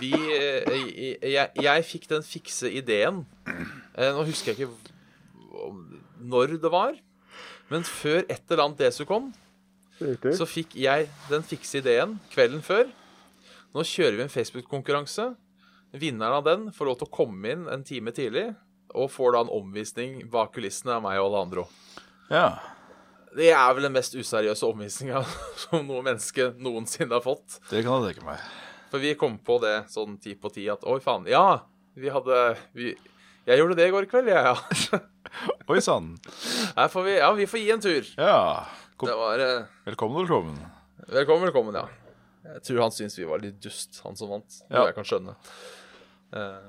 Vi eh, jeg, jeg, jeg fikk den fikse ideen. Eh, nå husker jeg ikke om- når det var, men før et eller annet desu kom, så fikk jeg den fikse ideen kvelden før. Nå kjører vi en Facebook-konkurranse. Vinneren av den får lov til å komme inn en time tidlig og får da en omvisning bak kulissene av meg og alle andre også. ja. Det er vel den mest useriøse omvisninga som noe menneske noensinne har fått. Det kan jeg tenke meg. For vi kom på det sånn ti på ti at oi, faen. Ja, vi hadde vi, Jeg gjorde det i går kveld, jeg, ja. Oi sann. Her får vi Ja, vi får gi en tur. Ja. Kom, Det var eh, velkommen, velkommen. Velkommen, velkommen, ja. Jeg tror han syntes vi var litt dust, han som vant. Ja. Noe jeg kan skjønne. Eh,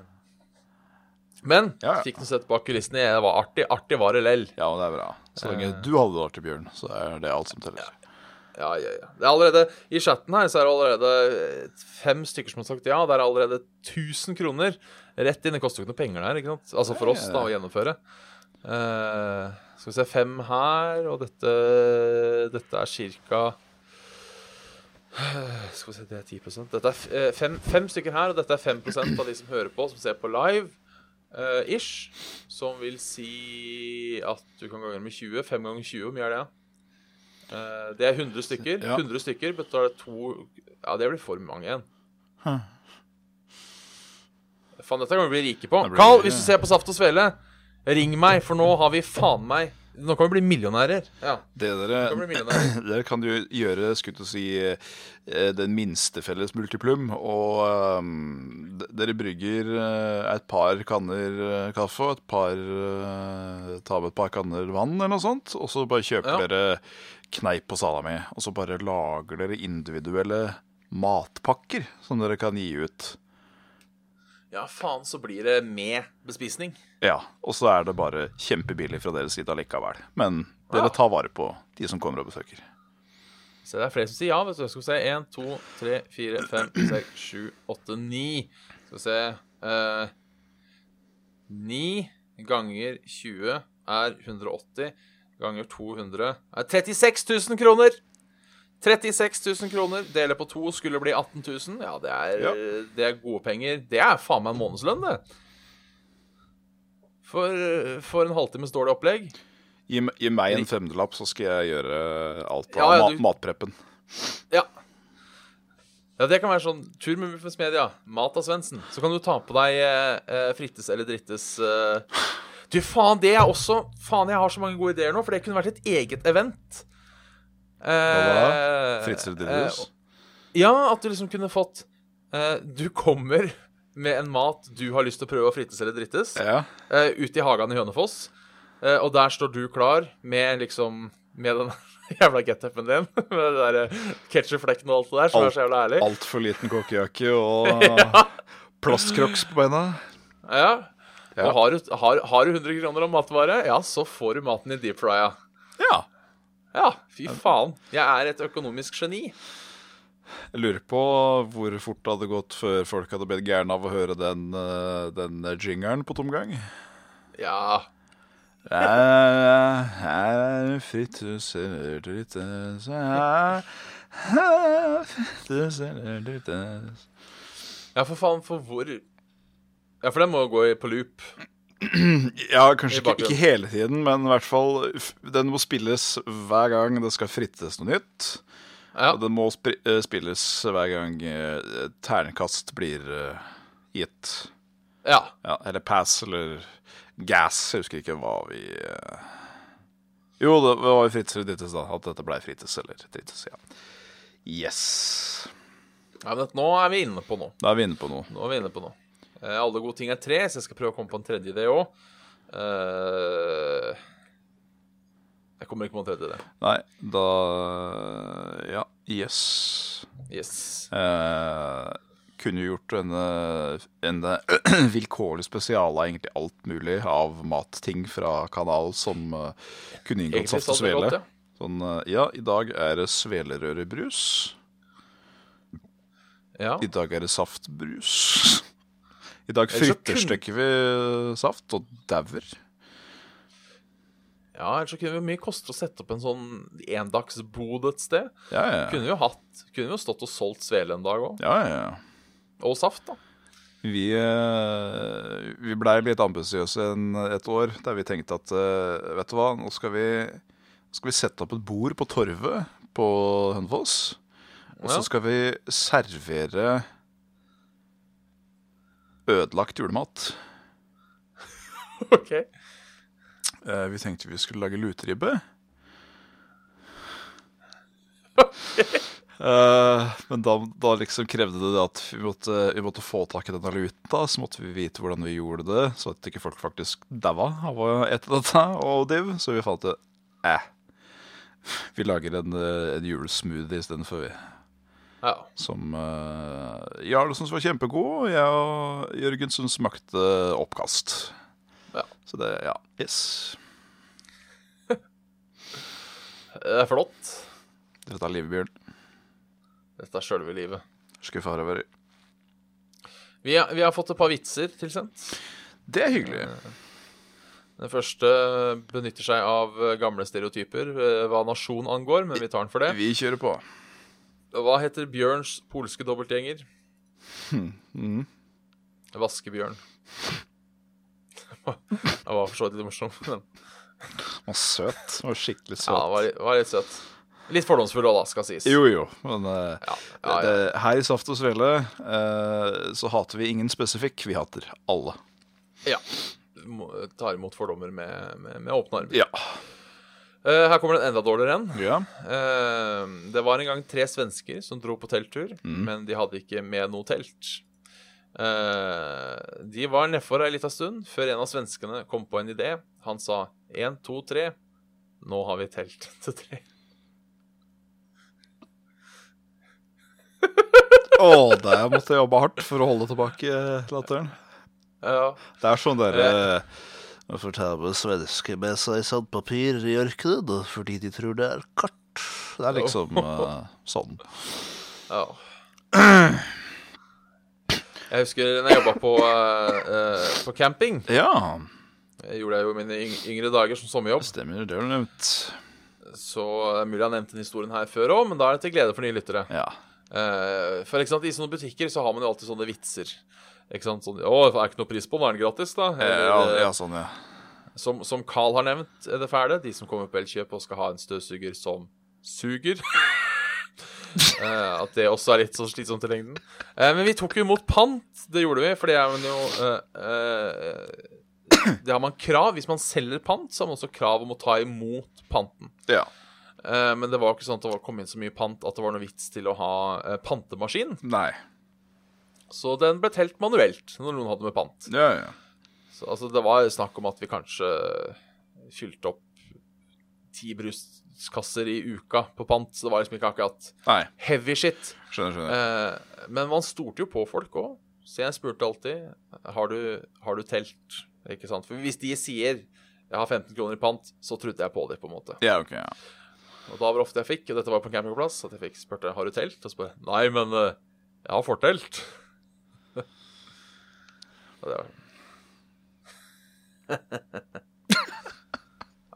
Men Ja, ja. fikk noe sett bak kulissene. Det var artig. Artig var det lell. Ja, men det er bra. Så lenge du hadde det artig, Bjørn, så er det alt som teller. Eh. Ja, ja, ja. Det er allerede, I chatten her så er det allerede eh, fem stykker som har sagt ja. Det er allerede 1000 kroner rett inn. Det koster jo ikke noe penger der, ikke sant? Altså for oss da å gjennomføre. Eh, skal vi se, fem her, og dette, dette er ca. Skal vi se, det er 10 Dette er f- eh, fem, fem stykker her, og dette er 5 av de som hører på, som ser på live. eh, ish. Som vil si at du kan gange med 20. 5 ganger 20, hvor mye er det? da? Eh, det er 100 stykker. Ja. 100 stykker betaler to Ja, det blir for mange igjen. Faen, dette kan vi bli rike på. Da blir Carl, vi- hvis du ser på Saft og Svele, Ring meg, for nå har vi faen meg Nå kan vi bli millionærer. Ja, Det nå dere, kan vi bli millionærer. dere kan jo gjøre, skulle jeg til å si, eh, den minste felles multiplum. Og ehm, d- dere brygger eh, et par kanner eh, kaffe og et par eh, Ta med et par kanner vann eller noe sånt. Og så bare kjøper Ja. dere kneip og salami. Og så bare lager dere individuelle matpakker som dere kan gi ut. Ja, faen, så blir det med bespisning. Ja, Og så er det bare kjempebillig fra deres side allikevel. Men Ja. dere tar vare på de som kommer og besøker. Så det er flere som sier ja. vet du. Skal vi se. 1, 2, 3, 4, 5, 6, 7, 8, 9. Skal vi se eh, 9 ganger 20 er 180. Ganger 200 er 36 000 kroner! 36 000 kroner dele på to skulle bli 18 000. Ja, det er, det er gode penger. Det er faen meg en månedslønn, det. For, for en halvtimes dårlig opplegg. Gi, m- gi meg en femdelapp, så skal jeg gjøre alt av Ja, ja, ma- du- matpreppen. Ja. Ja, Det kan være sånn tur med Muffens Media, mat av Svendsen. Så kan du ta på deg eh, eh, Frittes eller Drittes eh. Du, faen, det er også Faen, jeg har så mange gode ideer nå, for det kunne vært et eget event. Eh, Fritz eller Dildos. eh, ja, at du liksom kunne fått eh, Du kommer med en mat du har lyst til å prøve å frittes eller drittes Ja. eh, ute i hagen i Hønefoss. Eh, og der står du klar med liksom Med den jævla getupen din. Med den der eh, ketchupflekken og alt det der, som Alt- er så jævla ærlig. Altfor liten kokkejakke og plastkroks på beina. Ja. Ja. Og har du, har, har du 100 kroner om matvare, ja, så får du maten i deep frya. Ja. Ja, fy faen. Jeg er et økonomisk geni. Jeg lurer på hvor fort det hadde gått før folk hadde blitt gærne av å høre den, eh, den jingeren på tomgang. Ja. Her er fritt hus eller drittes Her er fritt hus eller drittes ja, for faen, for hvor Ja, for den må jo gå i- på loop. Ja, kanskje I ikke, bakgrunnen. ikke hele tiden, men i hvert fall f- Den må spilles hver gang det skal frittes noe nytt. Ja. Og den må spri- eh, spilles hver gang eh, ternekast blir eh, gitt. ja. Ja, eller pass eller gas. Jeg husker ikke hva vi eh, Jo, det var jo Fritzes eller Drittes, da. At dette ble Frittes eller Drittes. Ja. Yes. ja men nå er vi inne på noe. Da er vi inne på noe. Nå er vi inne på noe. Eh, alle gode ting er tre, så jeg skal prøve å komme på en tredje idé òg. Eh, jeg kommer ikke på en tredje idé. Nei, da Ja. Yes. Yes. Eh, kunne jo gjort en, eh, en eh, vilkårlig spesial av egentlig alt mulig av matting fra kanal som eh, kunne inngått Egentlig saft og sa det svele. godt, ja. Sånn, eh, ja, i dag er det svelerørebrus. Ja. I dag er det saftbrus. I dag Ellers så fritterstekker vi saft og dauer. ja, ellers så kunne det jo mye koste å sette opp en sånn endagsbod et sted. Ja, ja, ja. Kunne vi jo hatt Kunne vi jo stått og solgt svele en dag òg. ja, ja, ja. Og saft, da. Vi, eh, vi blei litt ambisiøse en, et år der vi tenkte at eh, vet du hva, nå skal vi, nå skal vi sette opp et bord på torvet på Hønefoss. Og Ja. så skal vi servere ødelagt julemat. OK. Eh, vi tenkte vi skulle lage luteribbe. Eh, men da, da liksom krevde det at vi måtte, vi måtte få tak i denne luta. Så måtte vi vite hvordan vi gjorde det, så at ikke folk faktisk daua av å ete dette. Og div, så vi fant ut eh, vi lager en, eh, en julesmoothie istedenfor, vi. Ja. Som eh, Jarl syntes var kjempegod, og jeg og Jørgen syntes smakte oppkast. Ja. Så det, ja. Yes. Det er flott. Dette er livet, Bjørn. Dette er sjølve livet. Skuffa har jeg vært. Vi, har- vi har fått et par vitser tilsendt. Det er hyggelig. Den første benytter seg av gamle stereotyper eh, hva nasjon angår, men vi tar den for det. Vi kjører på. Hva heter Bjørns polske dobbeltgjenger? Hmm. Mm. Vaskebjørn. Han var for så vidt litt morsom. Men Han var søt. Han var skikkelig søt. ja, han var, var litt søt. Litt fordomsfull òg, da, skal sies. Jo, jo, men eh, Ja, ja, ja. Det, her i Saft og Svele eh, så hater vi ingen spesifikk. Vi hater alle. ja. må- tar imot fordommer med, med, med åpne armer. Ja. Eh, her kommer det en enda dårligere en. ja. Eh, Det var en gang tre svensker som dro på telttur, men de hadde ikke med noe telt. Eh, De var nedfor ei lita stund før en av svenskene kom på en idé. Han sa én, to, tre. Nå har vi telt til tre. Å, der måtte jeg jobbe hardt for å holde tilbake eh, latteren. Ja. Det er sånn derre Hvorfor tar med svensker med seg sandpapir i ørkenen fordi de tror det er kart? Det er liksom eh, sånn. ja. Jeg husker da jeg jobba på, eh, eh, på camping. Ja, Det gjorde jeg jo i mine yng- yngre dager som sommerjobb. stemmer. Det har du nevnt. Så det er mulig jeg har nevnt den historien her før òg, men da er det til glede for nye lyttere. Ja. Eh, for ikke sant, I sånne butikker så har man jo alltid sånne vitser. Ikke sant, sånn, 'Å, er ikke noe pris på den, er den gratis', da? Eller, Ja, eh, ja, sånn, ja. Som, som Carl har nevnt, er det fæle. De som kommer på Elkjøp og skal ha en støvsuger som suger. Eh, at det også er litt så slitsomt i lengden. Eh, men vi tok jo imot pant. Det gjorde vi, for det er man jo eh, eh, Det har man krav. Hvis man selger pant, så har man også krav om å ta imot panten. ja. Eh, men det var jo ikke sånn at det var- kom inn så mye pant at det var noe vits til å ha eh, pantemaskin. Nei. Så den ble telt manuelt når noen hadde med pant. Ja, ja. Så altså, det var snakk om at vi kanskje eh, fylte opp ti bruskasser i uka på pant, så det var liksom ikke akkurat Nei. heavy shit. Skjønner, skjønner. Eh, men man stolte jo på folk òg, så jeg spurte alltid har du har du telt. Ikke sant? For hvis de sier 'jeg har 15 kroner i pant', så trodde jeg på det, på en måte. Ja, ok, ja. Og da var det ofte jeg fikk, og dette var på en campingplass, at jeg fikk spurte har du telt, og så bare nei, men eh, jeg har fortelt. og det var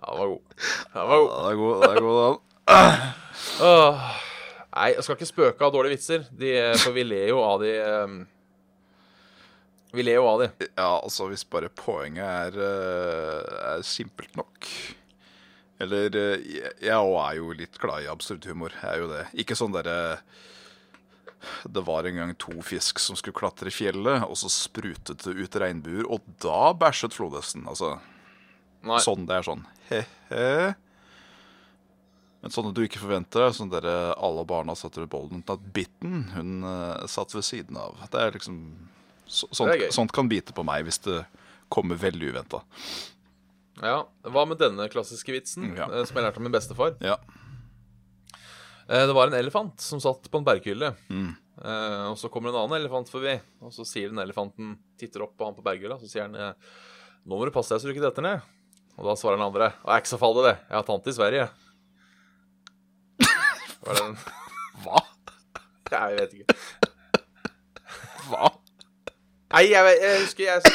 Ja, den var god. Den var god. Ja, det er god, det er god den. Åh. Nei, jeg skal ikke spøke av dårlige vitser, de, for vi ler jo av de eh, Vi ler jo av de. Ja, altså hvis bare poenget er, eh, er simpelt nok. Eller eh, jeg- Jeg òg er jo litt glad i absurd humor. Jeg er jo det. Ikke sånn derre Det var en gang to fisk som skulle klatre i fjellet, og så sprutet det ut regnbuer, og da bæsjet flodhesten. Altså Nei. sånn det er sånn. He-he. Men sånn at du ikke forventer, er sånn dere alle barna satt ved bollen til at bitten hun eh, satt ved siden av. Det er liksom så, sånt, Det er gøy. sånt kan bite på meg hvis det kommer veldig uventa. Ja, Hva med denne klassiske vitsen, Ja. eh, som jeg lærte av min bestefar? Ja. Eh, Det var en elefant som satt på en berghylle. Mm. Eh, og så kommer en annen elefant forbi, og så sier den elefanten Titter opp på han på berghylla, så sier han eh, 'Nå må du passe deg så du ikke detter ned'. Og da svarer den andre 'Det er ikke så farlig, det. Jeg har tante i Sverige'. Var det den? Hva? Nei, jeg vet ikke. Hva? Nei, jeg, vet- jeg husker jeg,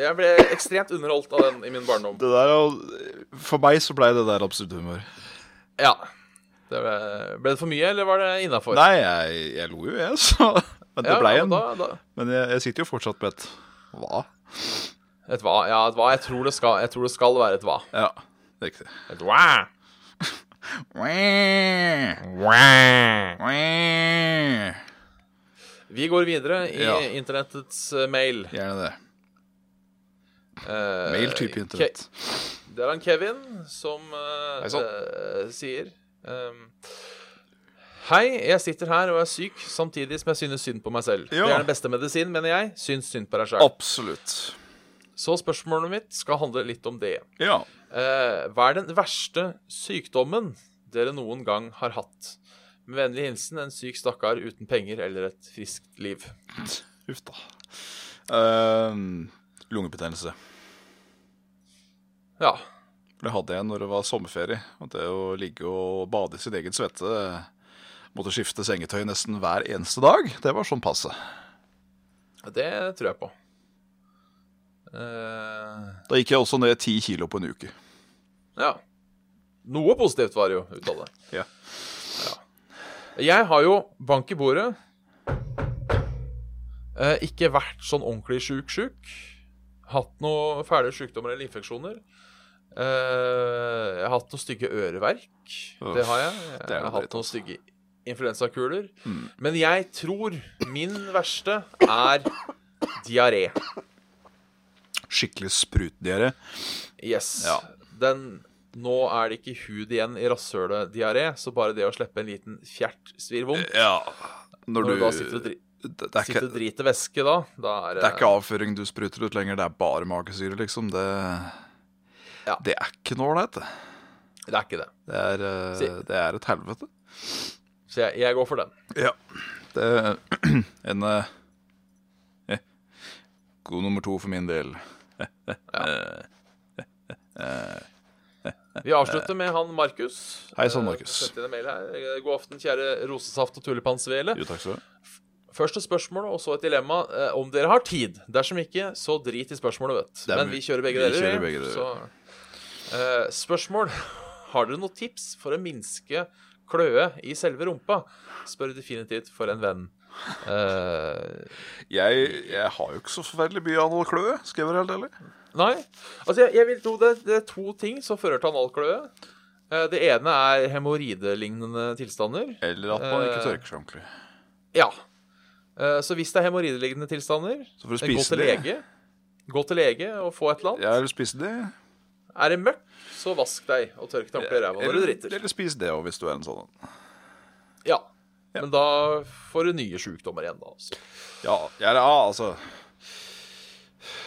jeg ble ekstremt underholdt av den i min barndom. Det der, er jo- for meg så blei det der absurd humor. Ja. Det ble, ble det for mye, eller var det innafor? Nei, jeg, jeg lo jo, jeg, så Men det ja, blei ja, en. men da, da, Men jeg, jeg sitter jo fortsatt med et hva? Et hva? Ja, et hva. Jeg tror det skal, jeg tror det skal være et hva. Ja, riktig. Et hva. Gjerne Vi går videre i Ja. internettets eh, mail. det. Eh, Mail type internett. Ke det er han Kevin som eh, Hei sann. eh, sier ehm, Hei, jeg sitter her og er syk, samtidig som jeg synes synd på meg selv. Ja. Det er den beste medisin, mener jeg. Syns synd på deg selv Absolutt. Så spørsmålet mitt skal handle litt om det. Ja. Eh, hva er den verste sykdommen dere noen gang har hatt? Med vennlig hilsen en syk stakkar uten penger eller et friskt liv. Uff da. Ehm, lungebetennelse. Ja. Det hadde jeg når det var sommerferie. Og det å ligge og bade i sin egen svette Måtte skifte sengetøy nesten hver eneste dag. Det var sånn passe. Det tror jeg på. Eh, Da gikk jeg også ned ti kilo på en uke. ja. Noe positivt var det jo ut av det. Ja. Jeg har jo bank i bordet. Eh, ikke vært sånn ordentlig sjuk-sjuk. Hatt noe fæle sykdommer eller infeksjoner. Eh, jeg har hatt noen stygge øreverk. det har jeg. Jeg det er jo har Mm. hatt dritt, noen altså. stygge influensakuler. Men jeg tror min verste er diaré. skikkelig sprutdiaré. Yes. Ja. Den Nå er det ikke hud igjen i rasshølet-diaré, så bare det å slippe en liten fjert svir vondt. Ja. Når Når du Eh, du da sitter og, dri det, det, er sitter ikke, og driter væske, da, da er eh, det er ikke avføring du spruter ut lenger, det er bare magesyre, liksom. Det, Ja. det er ikke noe ålreit, det. det er ikke det. Det er, eh, Si- det er et helvete. Så jeg, jeg går for den. Ja. Det er en eh, eh, God nummer to for min del. Vi avslutter med han Markus. Eh. Hei sann, Eh, Markus. sendte inn en mail her. Eh, God aften, kjære rosesaft- og tulipansvele. Jo, takk skal du ha. Først et spørsmål, og så et dilemma. Eh, om dere har tid. Dersom ikke, så drit i spørsmålet, vet Det er Men vi- vi kjører begge vi deler. kjører begge deler. Så, eh, spørsmål. Har dere noen tips for å minske kløe i selve rumpa? Spør definitivt for en venn. Eh, Jeg, jeg har jo ikke så forferdelig mye av noe kløe, skal jeg være helt ærlig. Nei. Altså, jeg, jeg vil tro det, det er to ting som fører til analkløe. Eh, Det ene er hemoroidelignende tilstander. Eller at man ikke Eh, tørker seg ordentlig. Ja. Eh, Så hvis det er hemoroidelignende tilstander, Så for å gå spise til det lege. Gå til lege og få et eller annet. Ja, eller spise det. Er det mørkt, så vask deg og tørk deg ordentlig i ræva når du Eller, driter. eller spis det òg, hvis du er en sånn en. Ja. Men da får du nye sjukdommer igjen, da. Altså. Ja, ja, ja, altså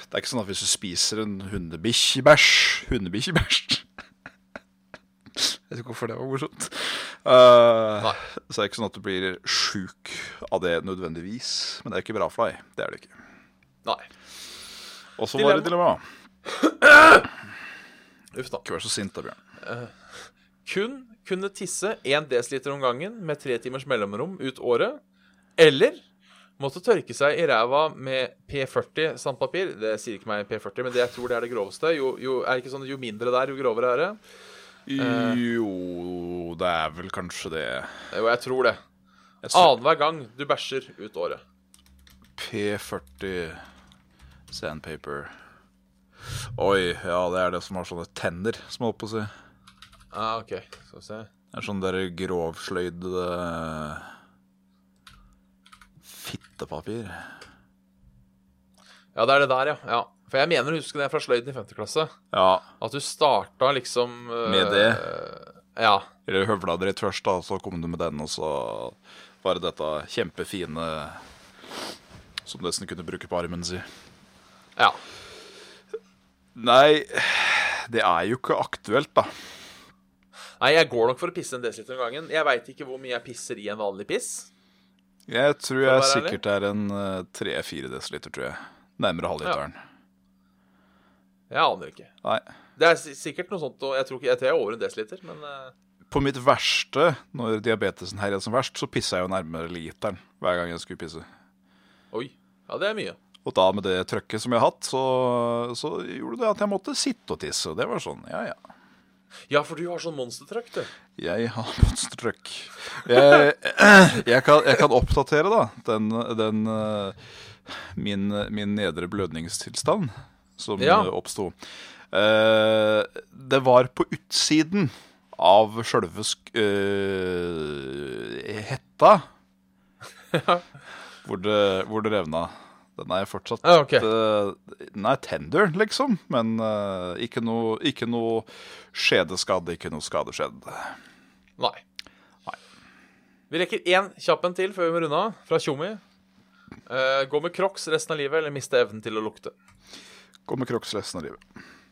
Det er ikke sånn at hvis du spiser en hundebikkjebæsj Hundebikkjebæsj? Jeg vet ikke hvorfor det var morsomt. Eh, Nei. så det er ikke sånn at du blir sjuk av det nødvendigvis. Men det er ikke bra for deg. Det er det ikke. Nei. Og så var det dilemma. Uff da. Ikke vær så sint da, Bjørn. Kun kunne tisse 1 dl om gangen med tre timers mellomrom ut året. Eller måtte tørke seg i ræva med P40 sandpapir. Det sier ikke meg P40, men det jeg tror det er det groveste. Jo, jo, er det ikke sånn, jo mindre det er, jo grovere er det. Jo, det er vel kanskje det Jo, jeg tror det. Jeg så- Annenhver gang du bæsjer ut året. P40 sandpaper. Oi, ja, det er det som har sånne tenner, som jeg holdt på å si. Ah, ok, skal vi se. Det er sånn der eh, grovsløydede Fittepapir. Ja, det er det der, ja. ja. For jeg mener å huske det fra sløyden i 5. klasse. Ja, At du starta liksom øh, Med det? Ja. eller høvla dere først, da, så kom du med den, og så var det dette kjempefine som du nesten kunne bruke på armen si. ja. Nei, det er jo ikke aktuelt, da. Nei, jeg går nok for å pisse en desiliter om gangen. Jeg veit ikke hvor mye jeg pisser i en vanlig piss. Jeg tror å jeg være ærlig? sikkert er en eh, 3-4 desiliter, tror jeg. Nærmere halvliteren. Jeg aner ikke. Nei. Det er si- sikkert noe sånt, og jeg tror ikke jeg tror jeg er over en desiliter, men eh, På mitt verste, når diabetesen herjet som verst, så pissa jeg jo nærmere literen hver gang jeg skulle pisse. oi. Ja, det er mye. Og da med det trøkket som jeg har hatt, så, så gjorde det at jeg måtte sitte og tisse. Og det var sånn, ja ja. Ja, for du har sånn monstertruck, du. Jeg har monstertrøkk. Jeg, jeg, kan, jeg kan oppdatere, da, den, den eh, min, min nedre blødningstilstand som Ja. eh, oppsto. Eh, det var på utsiden av sjølve sk- eh, hetta hvor, det, hvor det revna. Den er fortsatt Ja, Ah, ok. eh, Den er tender, liksom. Men eh, ikke noe ikke noe skjedeskade, ikke noe skadeskjedd. Nei. Vi rekker én kjapp en til før vi må runde av, fra Tjommi. Eh, gå med crocs resten av livet eller miste evnen til å lukte. Går med crocs resten av livet.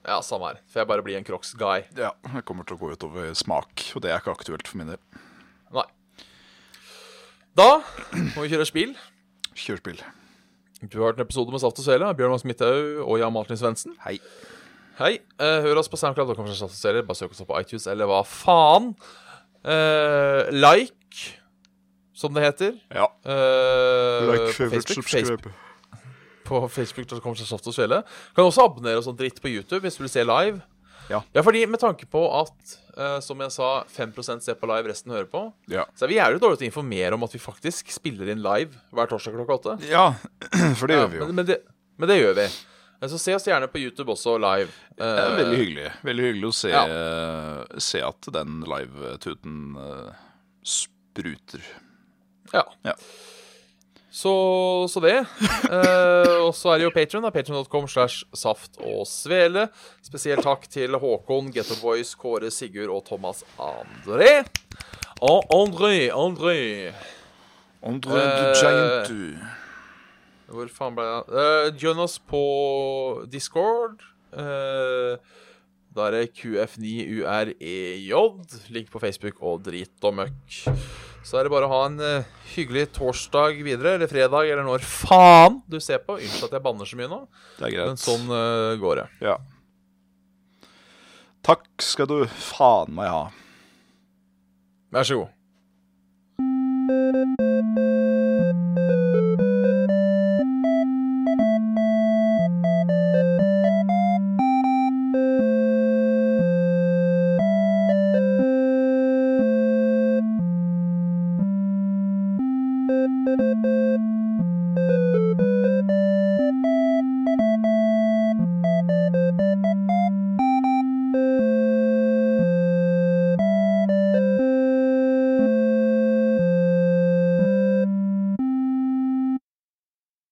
Ja, samme her. For jeg bare blir en crocs-guy. Ja, Det kommer til å gå utover smak, og det er ikke aktuelt for min del. Nei. Da må vi kjøre spill. Kjørspill. Du har hørt en episode med Saft og Svele av Bjørn Mads Midthaug og Jan Martin Svendsen. Hei. Hei. eh, hør oss på SoundCloud. Dere kommer fra Saft og Svele. Bare søk oss opp på iTunes eller hva faen. Eh, like, som det heter. Ja. Eh, Facebook, Facebook, på facebook.com. slash Saft og Svele. Du kan også abonnere og sånn dritt på YouTube hvis du vil se live. Ja. ja, fordi med tanke på at, eh, som jeg sa, 5 ser på live, resten hører på. Ja. Så er vi jævlig dårlige til å informere om at vi faktisk spiller inn live hver torsdag klokka åtte. ja, for det Ja, gjør vi jo. Men, men, det, men det gjør vi. Eh, Så se oss gjerne på YouTube også live. Det Eh, er veldig hyggelig Veldig hyggelig å se, se at den eh, live-tuten eh, spruter. Ja. Ja. Så, så det. Eh, og så er det jo Patron. Patron.com slash saft og svele. Spesiell takk til Håkon, Getto Boys, Kåre, Sigurd og Thomas André. Og André, André Andre Eh, the giant du. Hvor faen ble jeg Eh, Join oss på Discord. Eh, da er det QF9UREJ. Link E på Facebook og drit og møkk. Så er det bare å ha en eh, hyggelig torsdag videre, eller fredag, eller når faen du ser på. Unnskyld at jeg banner så mye nå, Det er greit. men sånn eh, går det. Ja. Takk skal du faen meg ha. Vær så god.